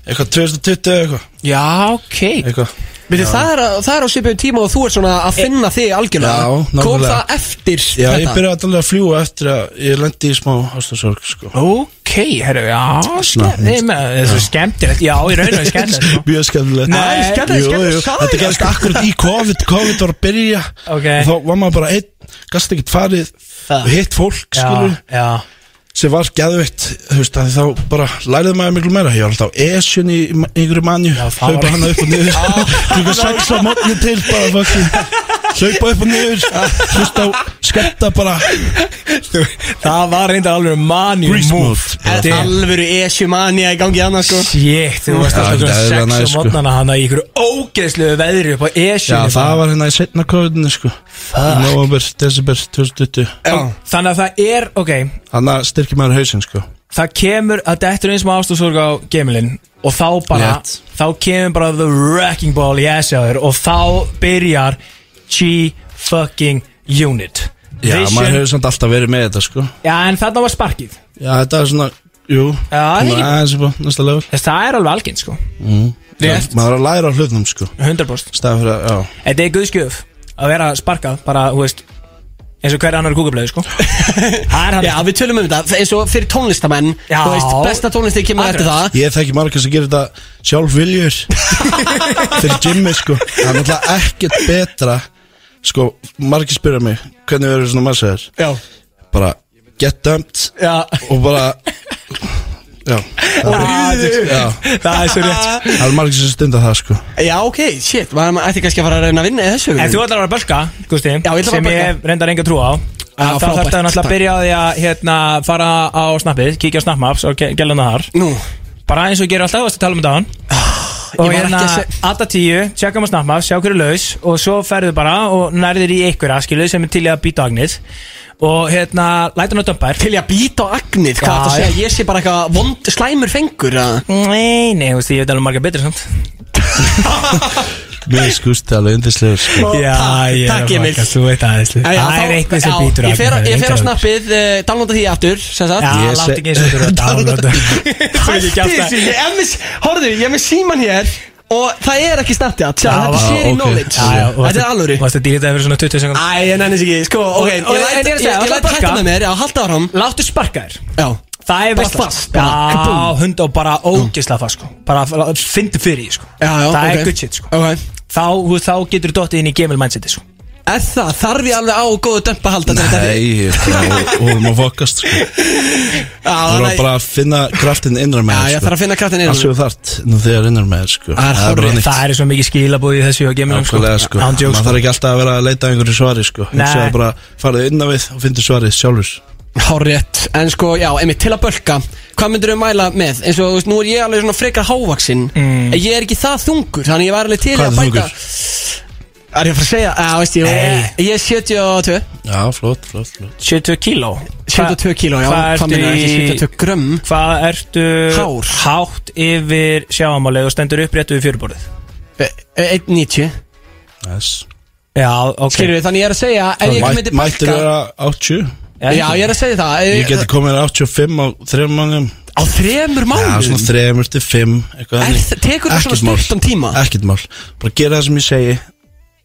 Eitthvað 2020 eða eitthvað
Já, ok
Eitthvað
Veitir, það, er, á- það er á svipuðum tíma og þú ert svona að finna þig algjörlega
Já, nákvæmlega.
Kom það eftir
Já, ég
þetta?
byrjaði allavega að fljúa eftir að ég lendi í smá ástasorg, sko
Ok, herru, já, skemmtilegt Það er svo skemmtilegt, já, í raun og veru skemmtilegt sko.
Mjög skemmtilegt sko.
Nei, skemmtilegt,
Jú,
skemmtilegt,
jú,
sagði
Þetta
ég.
gerist akkurat í COVID COVID var að byrja
Ok.
Og Þá var maður bara einn Gast ekkert farið
Það.
og hitt fólk, skilur
Já, já
sem var geðveitt þú veist að þá bara læriði maður miklu meira ég var alltaf á esjun í í einhverju manju
það var
hlaupa hana upp og niður klukka sex á mótni til bara fucking hlaupa upp og niður hlusta á skemmta bara
Það var reynda alveg manjum
Grease mode.
Er Alvöru esjumania í gangi annars sko
Shit, þú varst
Já,
alltaf
þetta er
svona
alveg
sex
næs,
á
sko.
mótnana hana í einhverju ógeðslegu veðri upp á
já
esjunni
það var hérna í setna kóðinu sko í november, desember 2020
Þannig að það er, ok
þannig að styrkja maður hausinn sko
Það kemur að þetta er eins og ástúrsorg á gemilinn Og þá bara
Rétt.
Þá kemur bara the wrecking ball í esjaður Og þá byrjar G-fucking unit
já
Vision-
maður hefur samt alltaf verið með þetta sko
Já, en þarna var sparkið
já þetta er svona jú
Já, það er ekki-
svona aðeins upp á næsta level
Þess það er alveg algjönd, sko Rétt.
maður er að læra á hlutum sko
100%
staðið fyrir að já
Þetta er guðskjöf að vera sparkað Bara, þú veist eins og hver annar kúkablöð, sko Það er hann
Já, við tölum um þetta, f- eins og fyrir tónlistamenn
Já.
Þú veist, besta tónlistið kemur eftir það
Ég þekki marga sem gerir þetta sjálf viljur Fyrir gymmi sko Það er náttúrulega ekkert betra Sko, margir spyrja mig Hvernig verður svona massaður?
Já,
Bara get dumped
já
Og bara Já
Og rýðu
Já,
Það er svo rétt
það er margir sem stunda það sko
Já, ok, shit, maður maður ætti kannski að fara að reyna að vinna í þessu
En þú ætlar að vera að bölka, Gusti
Já, ég ætla að
Sem
fara að
ég hef reyndar enga trú á Þá
frábært,
þarf þetta náttúrulega
takk.
að byrja á því að hérna, fara á snappið Kíkja á snapmaps og ge- gæla hana þar
Nú,
Bara eins og ég gerir alltaf, þú varst að tala um þetta á hann
Ah, var
og
ekki
hérna
að se-
alltaf tíu, tjekkum á snappa, sjá hverju laus og svo ferðu bara og nærðir í einhverja skiluð sem er til í að býta agnið og hérna, lætur hann að dömpa þér
Til ég að býta á agnið, hvað
Já,
þetta að segja,
já.
ég sé bara eitthvað vond slæmur fengur að
Nei, nei, þú veist, ég veit alveg marga betur samt
Mér skust alveg yndislegur sko.
Já,
takk,
ég er
takk,
að
Emil.
fokka, þú veit aðeins
Já, já,
Það
þá-
er eitthvað
já,
sem býtur
Ég fer,
agnið,
ég fer á
engar-
snappið, uh, downloada því aftur sem sagt.
Já,
Ég
látt
se-
ekki eins og þú eru að downloada Þú veit ekki
Hætti
aftur
þessu, ég er með, horðu, ég er með síman hér og það er ekki snapchat, sjá,
Já,
þetta er
já,
sharing
ok.
knowledge
Já, já, og varstu-
Þetta er alvöru
Varstu að dýrita það fyrir svona 20 sekund
Æ, ég nenni sig ekki, sko, ok, ég
og- en
læt-
ég er að
ég-
segja,
ég
ætla að
læt
bakka.
hætta með mér, já, halda áram
Láttu sparka þér
Já,
Það er
Bara
veistla.
fast, bara
Já,
kaboom.
hund og bara ógisla fast sko. Bara fyndi fyrir því sko.
já, já,
Það
ok.
er good shit sko.
Ok.
Þá, þú- þá getur dottið inn í gemil mindseti sko.
Er það, þarf ég alveg á góðu dömpa að halda til þetta er-
Nei, sko, hún erum að fokast sko.
Já,
Þú
þannig
erum bara að finna kraftin innra með
Já,
þér,
ég
sko.
þarf að finna kraftin
Allt
inn
sem þú þart nú þegar innra með þér, sko.
Það er hárrétt.
bara nýtt.
Það er svo mikið skilabúið í þessu og gemilum
Nákvæmlega sko,
Án
maður
djóks, sko.
þarf ekki alltaf að vera að leita að einhverju svari sko
Nei.
Hugsaðu bara farið inn á við og fyndu svarið sjálfur
Hárrétt, en sko, já, einmitt til að bölka Hvað myndirðu mæla með? Eins og, þú veist, nú er ég alveg svona frekar hávaksinn mm. Ég er ekki það þungur, þannig ég var alveg til í að
Hvað ertu
bæta
þungur?
Er ég að fara að segja, að, veist ég,
Nei.
ég er 72
Já, flott, flott, flott
72 kíló
72 kíló, já,
Hvað
hvað
ertu
myndirðu ekki
í-
72 grömm
Hvað ertu
Hár.
hátt yfir sjáamálið og stendur uppréttu við fjöruborðið?
Eh, eh, 1,90
yes.
Já, ok
Skilur við, þannig ég er að segja, ef ég hérna ekki myndi
Mættir
bölka
vera 80
Já, ég er að segja það
Ég
eh,
geti komið þér 85 á þrejum mannum
Á þremur
Já,
mánuðum
svona þrejum til 5 Eitthvað
Er það- tekur það
Ekkert
svona
mál.
stuttan tíma?
Ekkert mál Bara gera það sem ég segi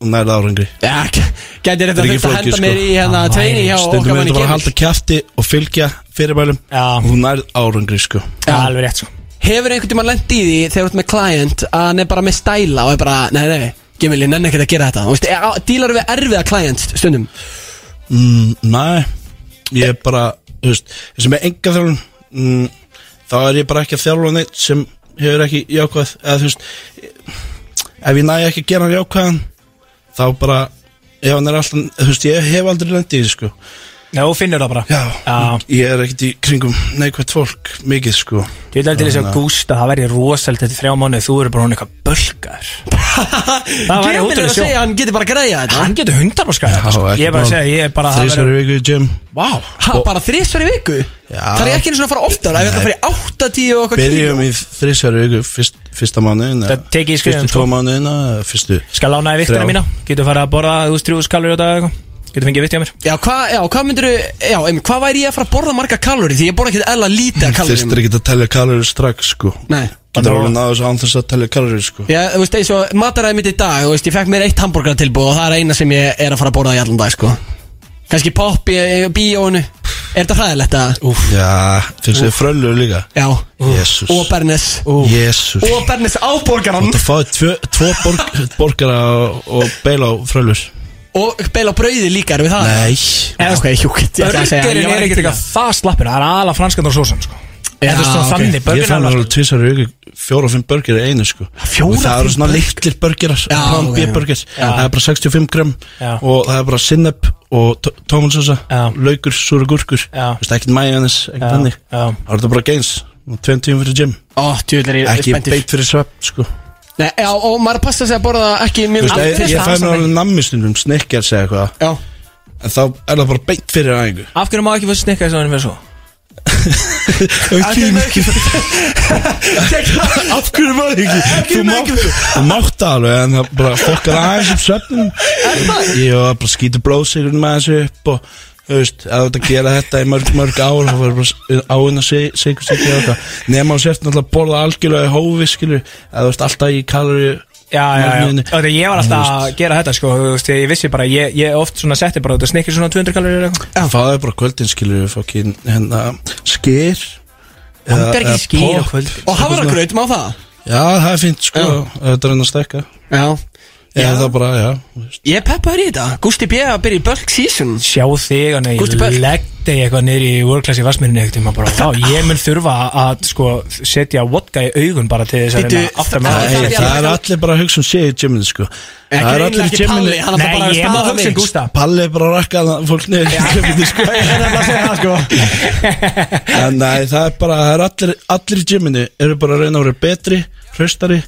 og nærða árangri
Já, gæti þetta
Þetta er ekki
þurft að
flókið,
henda
sko.
mér í hérna
Á,
treyni hjá
Stundum
okkar
er
manni
þetta bara að
Gemil.
halda kjafti og fylgja fyrirbælum
Já.
Hún nærð árangri sko
Já, alveg rétt sko
Hefur einhvern tímann lent í því þegar þú ert með client að hann er bara með stæla og er bara, nei, nei, Gimil, ég nenni ekkert að gera þetta Þú veist, e, á- Dílar við erfiða client stundum
Mm, Nei, ég er bara þú veist, sem er enga þjálfun mm, þá er ég bara ekki að þjálfa neitt sem hefur ekki jákvæð eða þú veist ef ég næ ekki að gera hann jákvæðan þá bara ef hann er alltaf, þú veist, ég hef aldrei lendi í því sko
Já, þú finnur það bara
Já,
Já.
ég er ekkert í kringum neikvægt fólk mikið sko
Ég vil til þess að
Þannig að-
Gústa, það væri rosalit þetta þrjá mánuð, þú eru bara hún eitthvað bölkar Það
Gimil
væri
er
ótrúlega
að
sjó
segja að hann getur bara að greiða þetta
Hann getur hundar bara skæða
Já,
Ég
ekki
er bara að
mál.
segja, ég er bara það
Þrísvar í viku í gym
Vá
Ha, bara þrísvar í viku
Já.
Það er ekki einu svona að fara oftar Það er að fara í 8, 10 og eitthvað
Byrjum í þrísvar í viku fyrst, fyrsta mánuðina
Það tekið í skrifum,
Fyrstu
sko.
tvo mánuðina Fyrstu
Skal lánaði viktina
Þrjá.
mína, getur farið að borða þú strjúðus kalur í dag eða eitthvað Getur fengið vitt hjá mér
Já, hvað, já, hvað myndirðu, já, einmitt, hvað væri ég að fara að borða marga kalóri Því ég borða ekkert eðla lítið að
Fyrst er
kalóri
ekki að telja kalorir strax sko
Nei,
Þetta er alveg náðu þessu án þess að telja kalorir sko
já, þú veist, eins og mataræði mitt í dag Þú veist, ég fekk mér eitt hambúrgar og það er eina sem ég er að fara að borða í allan dag, sko Kanski popp í í bíóinu Er þetta hræðilegt að
Já, finnst þið fröllur líka
Já
Jésús
Og Bernes
Jésús
Og Bernes á borgaran
Það fáið tvö, tvo borg, borgara og- og beila á fröllur
Og beila á brauði líka erum við það
Nei
Eh, Ok, hjúkitt Ég ætla að segja
Börgerinn er ekkert eitthvað það slappir, það er ala franskarnar og sósan sko
Já,
Þetta er svona
ok.
þannig,
Ég fann
börgerinn er
alveg tvisar í viku Fjóra og fimm börgara í einu sko
Fjóra
Og það
fimm
eru svona
burger?
litlir börgarar
Já,
Plan B
ok.
börgar
Já.
Það er bara 65 gram
Já.
Og það er bara sinneb og tó- tómatsósa
Já.
Laukur, súra gúrkur
Já.
Þú veist, Ekkert mæjanis, ekkert
Já,
hannig
já.
Það er þetta bara gains Tveim tíum fyrir gym
Ó, tjóðlega ég er
Ekki
spenntur
beitt fyrir svepp sko
Nei, já, og maður passa sig að borða ekki
Þú
mjög
veist, ég, ég fæði mér alveg nammi stundum, snikkar segja eitthvað
Já,
En þá er það bara beint fyrir aðingu
Af hverju má ekki fyrst snikka þess að hann fyrir svo?
Af hverju maður ekki? Þú mátt, þú mátt það alveg En það bara fokkar aðeins upp svefnum Ég var bara skýtu blóðsigurinn með þessu upp Og þú veist, ef þú ert að gera þetta í mörg, mörg ár Þá verður bara áinn að sigur sigur á þetta Nefn á sért náttúrulega að borða algjörlega í hófi skilur Eða þú veist, alltaf í kalori
Já, já, já,
Magniðinni.
Þetta, ég var alltaf að gera þetta sko, þú veist, ég vissi bara, ég, ég oft svona setti bara, þetta snikkir svona 200 kalorir eða eitthvað
Fáðu bara á kvöldin skilur Fokkin, hérna, skyr
Langar ekki í skyr á kvöldin.
og hafragraut, má það?
Já, það er fínt sko,
Já.
ef þetta er henni að stekka
Já
Já, það bara, já þú veist.
Ég peppa þér í þetta Gusti B. að byrja í bulk season
Sjá þig, hann
Gústi
ég
Böll.
leggde ég eitthvað niður í workclass í vassmyrinu eitthvað, maður bara, já, ég mun þurfa að sko setja vodka í augun bara til þess að
Bíddu,
reyna aftur með
það-
það.
Nei,
það-
það er allir bara að hugsa um sig í gyminu sko Það er allir í
Ekki
gyminu
Palli, hann er bara
Nei,
að
ég má
staða
hugsa um
mig.
Gústa.
Palli er bara að rakka það fólk niður í gyminu sko En nei, það er bara, það er allir, allir í gyminu eru bara að reyna að vera betri, hraustari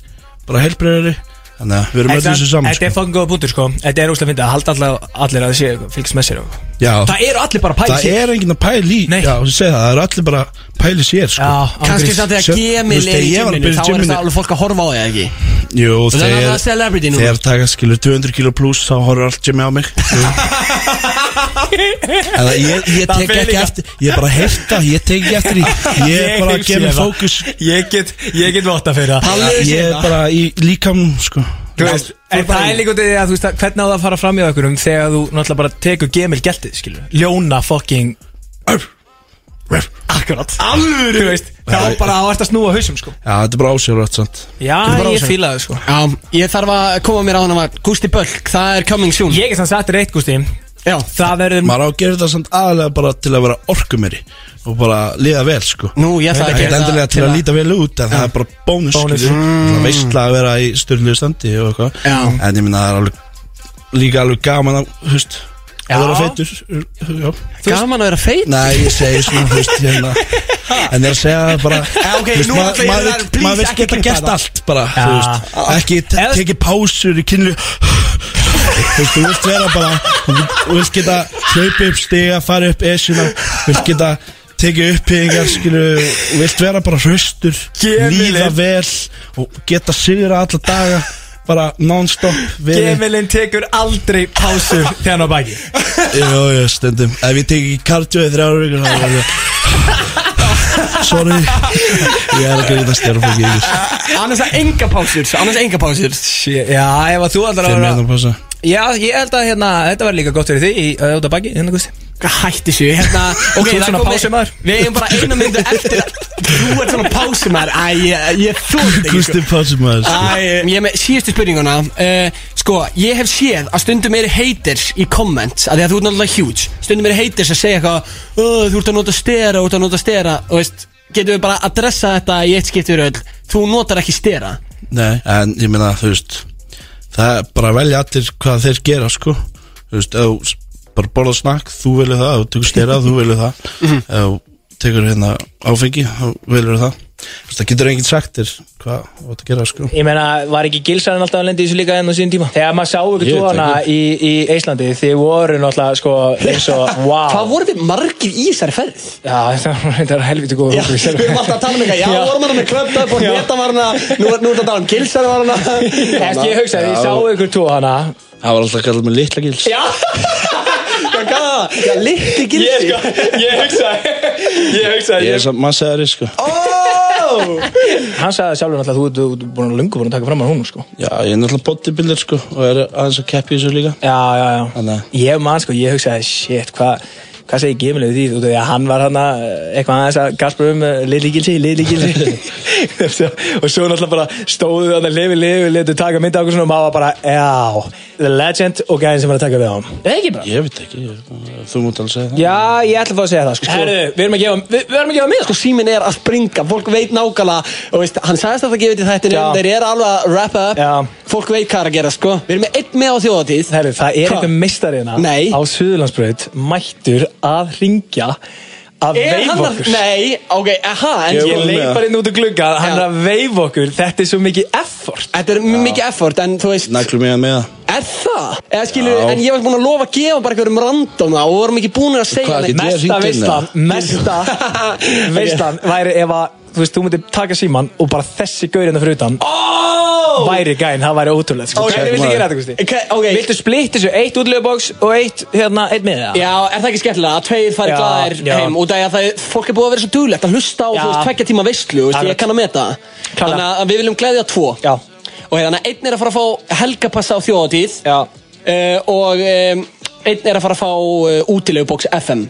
bara helbriðari Þannig að við erum öll í
Þetta
þessu saman
þetta er
sko.
fokkin góða bútur sko Þetta er úslega fyndið að halda alla- allir að það sé fylgst með sér og-
Já,
Það eru allir bara pæl
það er enginn að pæli í
Nei.
Já, þú segir það, það er allir bara að pæli sér sko.
Kanski samt
Sjö-
þegar
Þú
gemil er
veist,
í
þegar ég var að
gymminu
byrja í
Þá er
gymminu-
það alveg fólk að horfa á þig ekki
Jú,
Það er það
þegar
celebrity nú
Þegar taka skilur 200 kilo pluss þá horfur allt Jimmy á mig Eða ég, ég
Það
tek
fer
ekki
líka.
eftir Ég er bara að heyrta, ég tek ekki eftir því Ég er bara að gefa mér fókus
Ég get, ég get votta fyrir það
Ég er bara í líkam sko.
Þú veist, en það er líka út í því að þú veist að hvernig á það að fara fram í okkur um þegar þú náttúrulega bara tekur gemil geltið, skilur við. Ljóna fucking Akkurat Alvöru Þú veist, þá bara á ert að snúa hausum sko
Já, þetta er bara ásjálfrætt sant
Já,
bara á
ég
sig.
fíla það sko
Já, ég þarf að koma mér á hana var Gusti Bölk, það er coming soon
Ég er sann satt reitt, Gústi
Já,
Það verður
Maður á að gera þetta samt aðalega bara til að vera orkumeri Og bara liða vel sko
nú ég ætla að
Ekki
gera
endilega
það
til að líta vel út En það er bara bónus
Bónus.
skilur. Það veistla að vera í styrlu standi og eitthvað
Já.
En ég minna það er alveg Líka alveg gaman að, þú veist Að
Já.
vera feitur Já
Gaman að vera feit
Nei, ég segi svona, þú veist, hérna En ég er að segja það bara
ok,
þú veist,
nú
ma-
ætla ég
maður
það,
vill-
please,
Maður vill
ekki
geta
klippa
gert
þetta.
allt bara,
Já.
þú veist
Ah.
Ekki te-
Eða-
tekið pásur í kynlu Þú veist, þú vilt vera bara Þú vilt geta hlaupi upp stiga, fara upp esjuna Þú vilt geta tekið upphyggingar, skilu Þú vilt vera bara hraustur
Gemilinn.
Líða vel Og geta sigra alla daga Bara non-stop verið-
Gemilinn tekur aldrei pásu þegar hann á baki
Jú, jú, stundum Ef ég tek ekki kardio í þrjára vikur þá er ég Sorry Ég er ekki að stjára fólki yfir
Annars að enga pásur, annars enga pásur
Já, ef að þú aldrei
Fyrir mér þannig að passa
Já, ég held að hérna, þetta var líka gott fyrir því í auðvitað uh, baki, hérna Gusti
Hætti sér, hérna
Þú ert svona
komið-
pásumaður.
Við eigum bara eina myndu eftir Þú ert svona pásumar Æ, ég, ég þúrði ekki sko.
Kristi passa maður sko.
Æ, ég er með síðustu spurninguna uh, Sko, ég hef séð að stundum eru haters í comments að Því að þú ert náttúrulega huge Stundum eru haters að segja eitthvað "Ö, Þú ert að nota stera, þú ert að nota stera Þú veist, getum við bara að adressa þetta í eitt skipti fyrir öll Þú notar ekki stera
Nei, en ég meina, þú veist Það er bara að velja allir hvað þeir gera, sko Þú veist, ef þú s- bara borða snakk Þú velur það, ef þú tekur stera, þú velur það Ef þú tekur hérna áfengi Þú velur það Þú veist, það getur enginn sagt þér hvað þú átt að gera, sko
Ég meina, var ekki gilsarinn alltaf að lenda í þessu líka enn á síðan tíma? Þegar maður sá ykkur
Ég veit
tóana í, í Íslandi, þið voru náttúrulega sko eins og,
Hvað
wow
voru við margir í þessari ferð?
Já, það var þetta var helviti góð
Já, við erum alltaf að tala um eitthvað Já, vorum hann með klöpt upp og
Já.
neta var hana Nú er nú er þetta að tala um kilsar var hana
Ekki ég sko- hugsa, ég
Já.
sá ykkur tóana
Það var alltaf að kalla mig litla gils
Já,
Hvað gaf það? Já, litli
ég
gilsi
sko, ég hugsa Ég hugsa,
Ég er
ég,
samt massæðari sko
hann sagði sjálfur náttúrulega að þú ert- þú ert búin að lungu búin að taka fram að hún sko
Já, ég er náttúrulega bodybuilder sko Og er aðeins að keppi þessu líka
Já, já, já
Þannig að-
Ég man sko, ég hugsaði, shit, hvað Hvað segir Gimli við því? Þú veist, hann var hann að eitthvað aðeins að gaspur um eh, Lilli Gilsi, Lilli Gilsi og svo náttúrulega bara stóðu hann að lifi, lifi, letu taka mynd á okkur svona og maður var bara, já, the legend og gæðin sem var að taka við á hann Eða ekki bara?
Ég veit ekki, ég, þú mútt alveg segja það
Já, ég ætla að fá að segja það, sko Herðu, við erum að gefa, við, við erum að gefa miða,
sko síminn er að springa Fólk veit nákvæmlega og veist, Hann sagðist að það gefið til þættinu
Já.
Þeir eru alveg að wrap up
Já.
Fólk veit hvað er að gera sko Við erum með einn með á þjóðatíð
Herru, það er
Hva?
eitthvað meistarina
Nei.
á Suðurlandsbraut mættur að ringja að
Er
veifa
hann að,
okkur
nei, ok, aha en,
Ég leik bara inn út og glugga Hann er
Já.
að veif okkur Þetta er svo mikið effort
Þetta er mikið effort en þú veist
Næklum ég að með það
Er það? Eða skilur,
Já.
en ég var búin að lofa að gefa bara einhverjum random það og vorum ekki búin að segja
Hvað,
neitt.
get ég hringt
Mesta
inn,
veislan Mesta
Ok.
veislan væri ef að Þú veist, þú myndir taka síman og bara þessi gaurina fyrir utan oh! Væri gæn, það væri ótrúlega sko.
Ok,
Hvernig viltu
maður.
gera þetta, Gusti?
Ok, ok.
Viltu splitt þessu eitt útlöfubóks og eitt, hérna, eitt miða?
Já, er það ekki skemmtilega að tveir fari
Já,
glæðir
já.
heim út af því að það, fólk er búið að vera svo duglegt að hlusta á
Já.
þú veist tveggja tíma veistlu, veist,
Akkurat.
ég kann að meta
Klárlega.
Þannig að við viljum gleðja tvo
Já.
Og hérna, einn er að fara að fá helgapassa á þjóðatíð
Já.
Eh, Og um, einn er að fara að fá uh, útilegubóks FM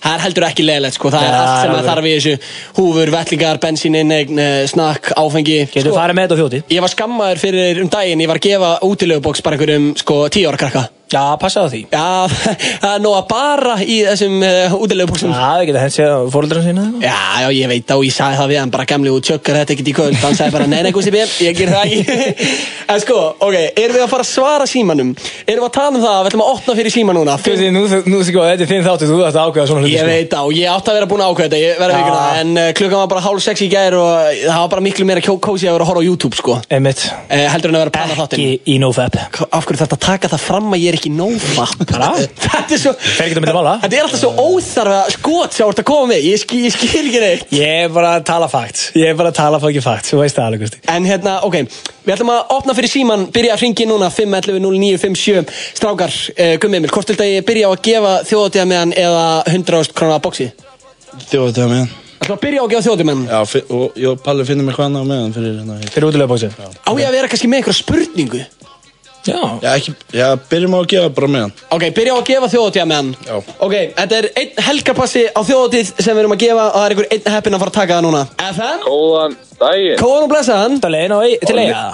Það er heldur ekki leðilegt sko, það er
Mhm. Já,
allt sem
alveg.
það þarf í þessu Húfur, vellingar, bensín, innegn, eh, snakk, áfengi Sko,
Getur farið með þetta á þjóti?
Ég var skammaður fyrir um daginn, ég var að gefa útilegubóks bara einhverjum sko tíu ára krakka
Já, passa á því
Já, það er nóg að bara í þessum uh, útilegu
Já,
búksum
það geta hendt séð á fóreldrann sína eða eitthvað.
Já, já, ég veit það og ég sagði það við hann bara gamli og tjökkar þetta ekkert í kvöld hann sagði bara, nei, nei, Gusti B, ég ger það ekki En sko, ok, erum við að fara að svara símanum? Erum við að tala um það? Við ætlum að opna fyrir síman núna
Þú veist, nú, nú, nú sko, þetta er þinn þáttu, þú þarfst að ákveða svona hluti
Ég veit það og ég átti að vera búin að ákveða þetta, ég verði
Já.
vikið það En uh, klukkan var bara hálf sex í gær og það var bara miklu meira kjó- kósí að vera að horfa á YouTube, sko
sko. Einmitt
uh, Heldur en að vera að plana þáttinn
Ekki í nofap
af hverju þarf að taka það fram að ég er ekki nófa
Bara?
þetta er svo
Fer ekki á milli mála.
þetta er alltaf svo óþarfa skot sem þú ert að koma með ég, skil, ég skil ekki neitt
Ég er bara að tala fakt Ég er bara að tala fokki fakt Þú veist það alveg, Gusti
en hérna, ok, við ætlum að opna fyrir síman byrja að ringi núna 511-0957 strákar, uh, gummi Emil, hvort viltu að ég byrja á að gefa þjóðatíða meðan eða 100 krónar bóksi
Þjóðu þetta meðan
ætlum að byrja á að gefa þjóðatíða meðan
Já, fi- og ég og Palli finnum eitthvað annað á meðan fyrir hérna
Fyrir útilega bóksið
á ég að vera kannski með einhverja spurningu
Já
Já, ekki, já, byrjum á að gefa bara meðan
Ok, byrja á að gefa þjóðatíða meðan
Já.
Ok, þetta er einn helgarpassi á þjóðatíð sem við erum að gefa og það er einhver einn heppin að fara að taka það núna FN,
Góðan daginn.
kóðan og blessaðan
Þetta er leiðin á til leiða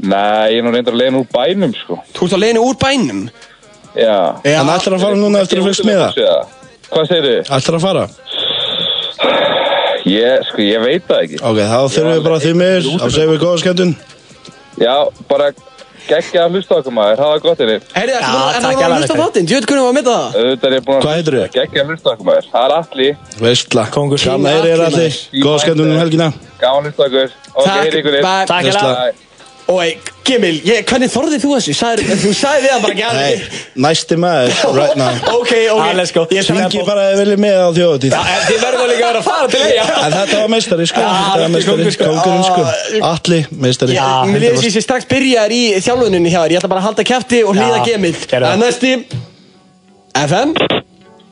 Nei, ég er nú reyndar að leiða nú úr bænum, sko.
Þú ert á leiðinu úr bænum?
Já.
Já.
Hann ætlar að fara núna eftir að fyrst með það
Hvað segir þið?
Ætlar að fara?
Ég, sko, ég veit það ekki.
Ok, þá þurfum við bara því meir Þá segjum við góða skemmtun
Já, bara geggja að hlusta okkur maður, hafa það gott inni.
Heyrðu,
Já,
ertu búin að- ertu
takk
búin að
alveg
hlusta á
fyrir.
þáttinn? Djöfull, hvernig var að mynda það?
Auðvitað er ég búin
Hvað heitirðu?
Geggja að hlusta okkur maður. Það er allir.
Veistla
Kóngur.
Kannar er allir Góða skemmtun um helgina
Gaman að hlusta okkur. Ok,
Takk,
heyri ykkur.
bye.
Takk
Veistla.
hella
Oi, Gimil, ég, hvernig þorðið þú þessu? Sagðir, þú sagði þið að bara gæða
Nei, næsti maður Right now
Ok, ok
Ah, let's go.
Ég ætla
Syngi bara að vilja með á þjóðatíð
En eh, Þið verður líka að vera að fara til leiða
En þetta var meistari sko Þetta var meistari
kóngur, sko.
Kókurinn sko Atli, meistari
Já,
að Mér liðis ég sé strax byrjar í þjálfuninni hjá þér Ég ætla bara að halda kæfti og hlýða
Já,
Gimil
gerðu það.
En næsti FM,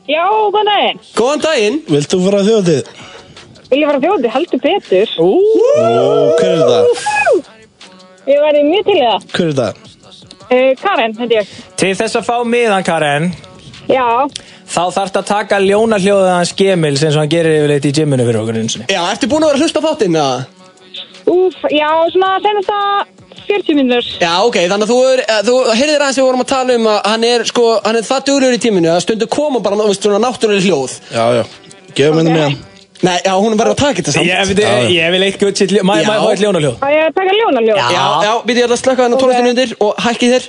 Já, góðan daginn.
góðan daginn
Vilt þú fara á þjóðatíð?
Vil ég fara þjóði, heldur betur.
Ó, hver er það?
Ég væri mjög til í það.
Hver er það?
Uh, Karen, held ég.
Til þess að fá miðan, Karen
Já,
Þá þarf að taka ljónahljóðið hans Gemils eins og hann gerir yfirleitt í gyminu fyrir okkur eins og
Já, ertu búin að vera að hlusta á þáttinn? eða?
úf, já, svona senast að 40 minnur.
Já, ok, þannig að þú, er, eh, þú heyrðir aðeins sem við vorum að tala um að hann er, sko, hann er það duglur í tíminu að stundu koma bara, þú veist, svona náttúrulega hljóð
Já, já Gefum henni meðan
Nei, já, hún verður að taka þetta samt
Ég vil- ég vil eitt gutt sitt ljó- Má
Já.
ég má ég fá eitt ljónahljóð?
Á ég að taka ljónaljóð?
Já, já, býtti ég ætla að slökka þennan tónlistinu undir og hækki þér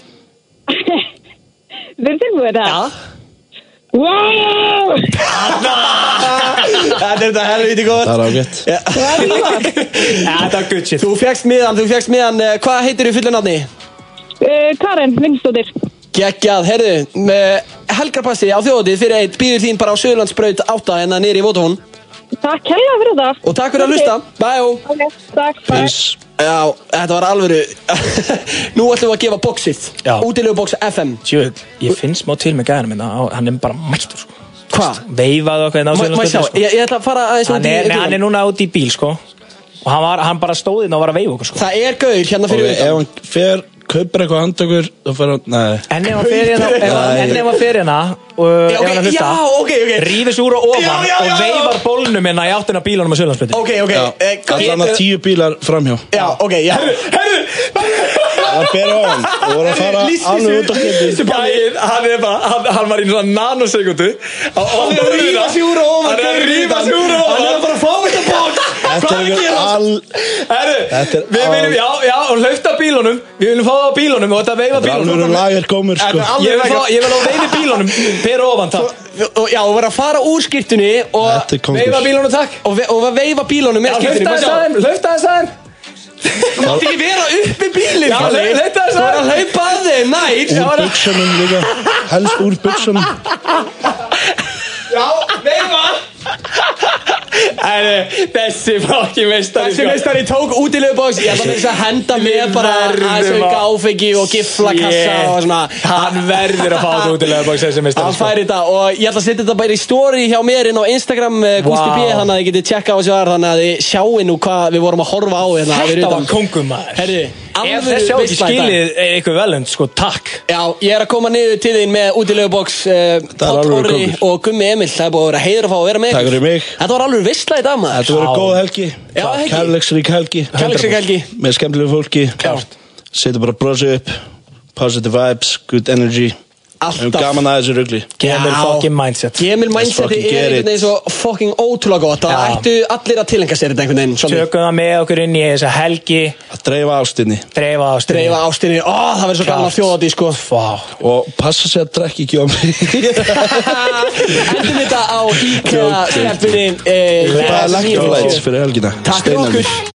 Við erum hérna. tilbúið það. Wow!
Þetta er þetta helviti góð
Það er ágætt
Það er gott.
Já, þetta var gutt sitt
Þú fjækst miðan, þú fjækst miðan eh, Hvað heitir þú fullu nafni?
Uh, Karen, vinstóttir.
Gekkjað, heyrðu eh, Helgarpassi á þjóðatið fyrir eitt býður þín bara á Söðurlandsbraut 8 en það niður í Votahón
Takk hella fyrir það.
og takk fyrir að hlusta, bæjó
Ok, takk. bye.
Peace
Já, þetta var alvöru Nú ætlum við að gefa bóksið
Já.
Útilegu bóks FM
Sjöfull, ég finn smá til með gæðanum minna Hann er bara mættur sko
Hvað?
Veifaðu okkur hérna á
Má má ég sjá,
Suðurlandsbrautinni, sko.
ég, ég ætla að fara aðeins
hann
út í hérna.
er, nei,
bílinn.
hann er núna út í bíl sko og hann, var, hann bara stóði inn og var að veifa okkur sko
Það er gaur hérna
Og
fyrir
ef
okay,
hann fer Kaupir eitthvað handtökur Þá fer hann Nei
en ef hann fer hérna ef hann-
Nei.
en ef hann fer hérna og ef hann
ok, Já,
hlusta
ok, ok
rífis úr og ofan
Já, já, já,
og
já.
veifar bólnum hérna í áttina bílunum á Sjölandsbyrti
Ok, ok eh, hvað-
Allan að tíu bílar framhjá
Já, ok, já
Það ber á hann Og voru að fara alveg út á
Þessi
kjöndi
bæinn, hann, er bara- hann, hann var í svona nanosekundu Hann
er að rífa sig úr og ofan,
Hann er að
gaurinn
rífa
utan.
sig úr og
Hann er
bara að fá þetta bóks
Þetta er einhver al Þetta
Herru,
er
við
al-
viljum, já, já, og hlauta bílunum Við viljum fá það á bílunum og þetta veifa bílunum
Alveg lager gómur
Þetta
sko
er alveg-
Ég vil fá, ég vil á veifi bílunum Per ofan takk
Og- Já, og vera að fara úr skýrtunni og,
Þetta er kongur
Veifa bílunum takk
og, ve og veifa bílunum með skýrtunni
Hlauta þess aðeim, hlauta þess aðeim
Þú mátt ekki vera upp í bílinn
Já,
Kalli.
hlaup- hlaupa
Þú
þess
er
aðeins.
að hlaupa að þeim, nær
Já,
Úr
já.
byggsunum líka Helst úr byggsunum
Já, veifa Herru, þessi fokkin meistari
Þessi meistari sko. tók útilegu bóks Ég ætla með þess að henda með bara
Verðum
aðeins auka
að-
áfengi og gifla kassa
Shit.
og svona
Hann verður að fá þetta útilega bóks þessi meistari sko.
Hann fær þetta og ég ætla að setja þetta bara í story hjá mér inn á Instagram uh, Gusti
Vá.
B þannig að þið getið tjekka á þessu þar þannig að þið sjáu nú hvað við vorum að horfa á hérna fyrir
Þetta var
utan.
kóngum maður
Herri,
Ef
alvöru
þessi á ekki
veisla í dag.
skilið eitthvað velund, sko, takk
Já, ég er að koma niður til þín með útilegu bóks uh,
er
Páll
alvöru
Orri
kóngur.
og Gummi Emil Það er búið að vera heiður að fá að vera með
Takk
ykkur.
fyrir mig.
Þetta var alveg veistla í dag maður
Þetta verður góð helgi
Já, helgi.
Kærleiksrík helgi
Kærleiksrík helgi.
Með skemmtilegu fólki
Klárt.
Setur bara brosið upp positive vibes, good energy Hefum
Alltaf
gaman að þessu rugli
Gemil
Já.
fucking mindset.
Gemil mindset
fucking
er
get
einhvern
it.
veginn svo fucking ótrúlega gott Það
Já.
ættu allir að tilengja sér þetta einhvern veginn svolítið.
Tökum það með okkur inn í þessa helgi
Að dreifa ástinni
Dreifa ástinni
Dreifa ástinni, ó það verður svo gaman að þjóða því sko
Vá
Og passa sér að drekki ekki á mig
Endum þetta á eh, IKEA stefnir
Bara
Bara
lagt á lights fyrir helgina
Takk fyrir
Steinar mín.
okkur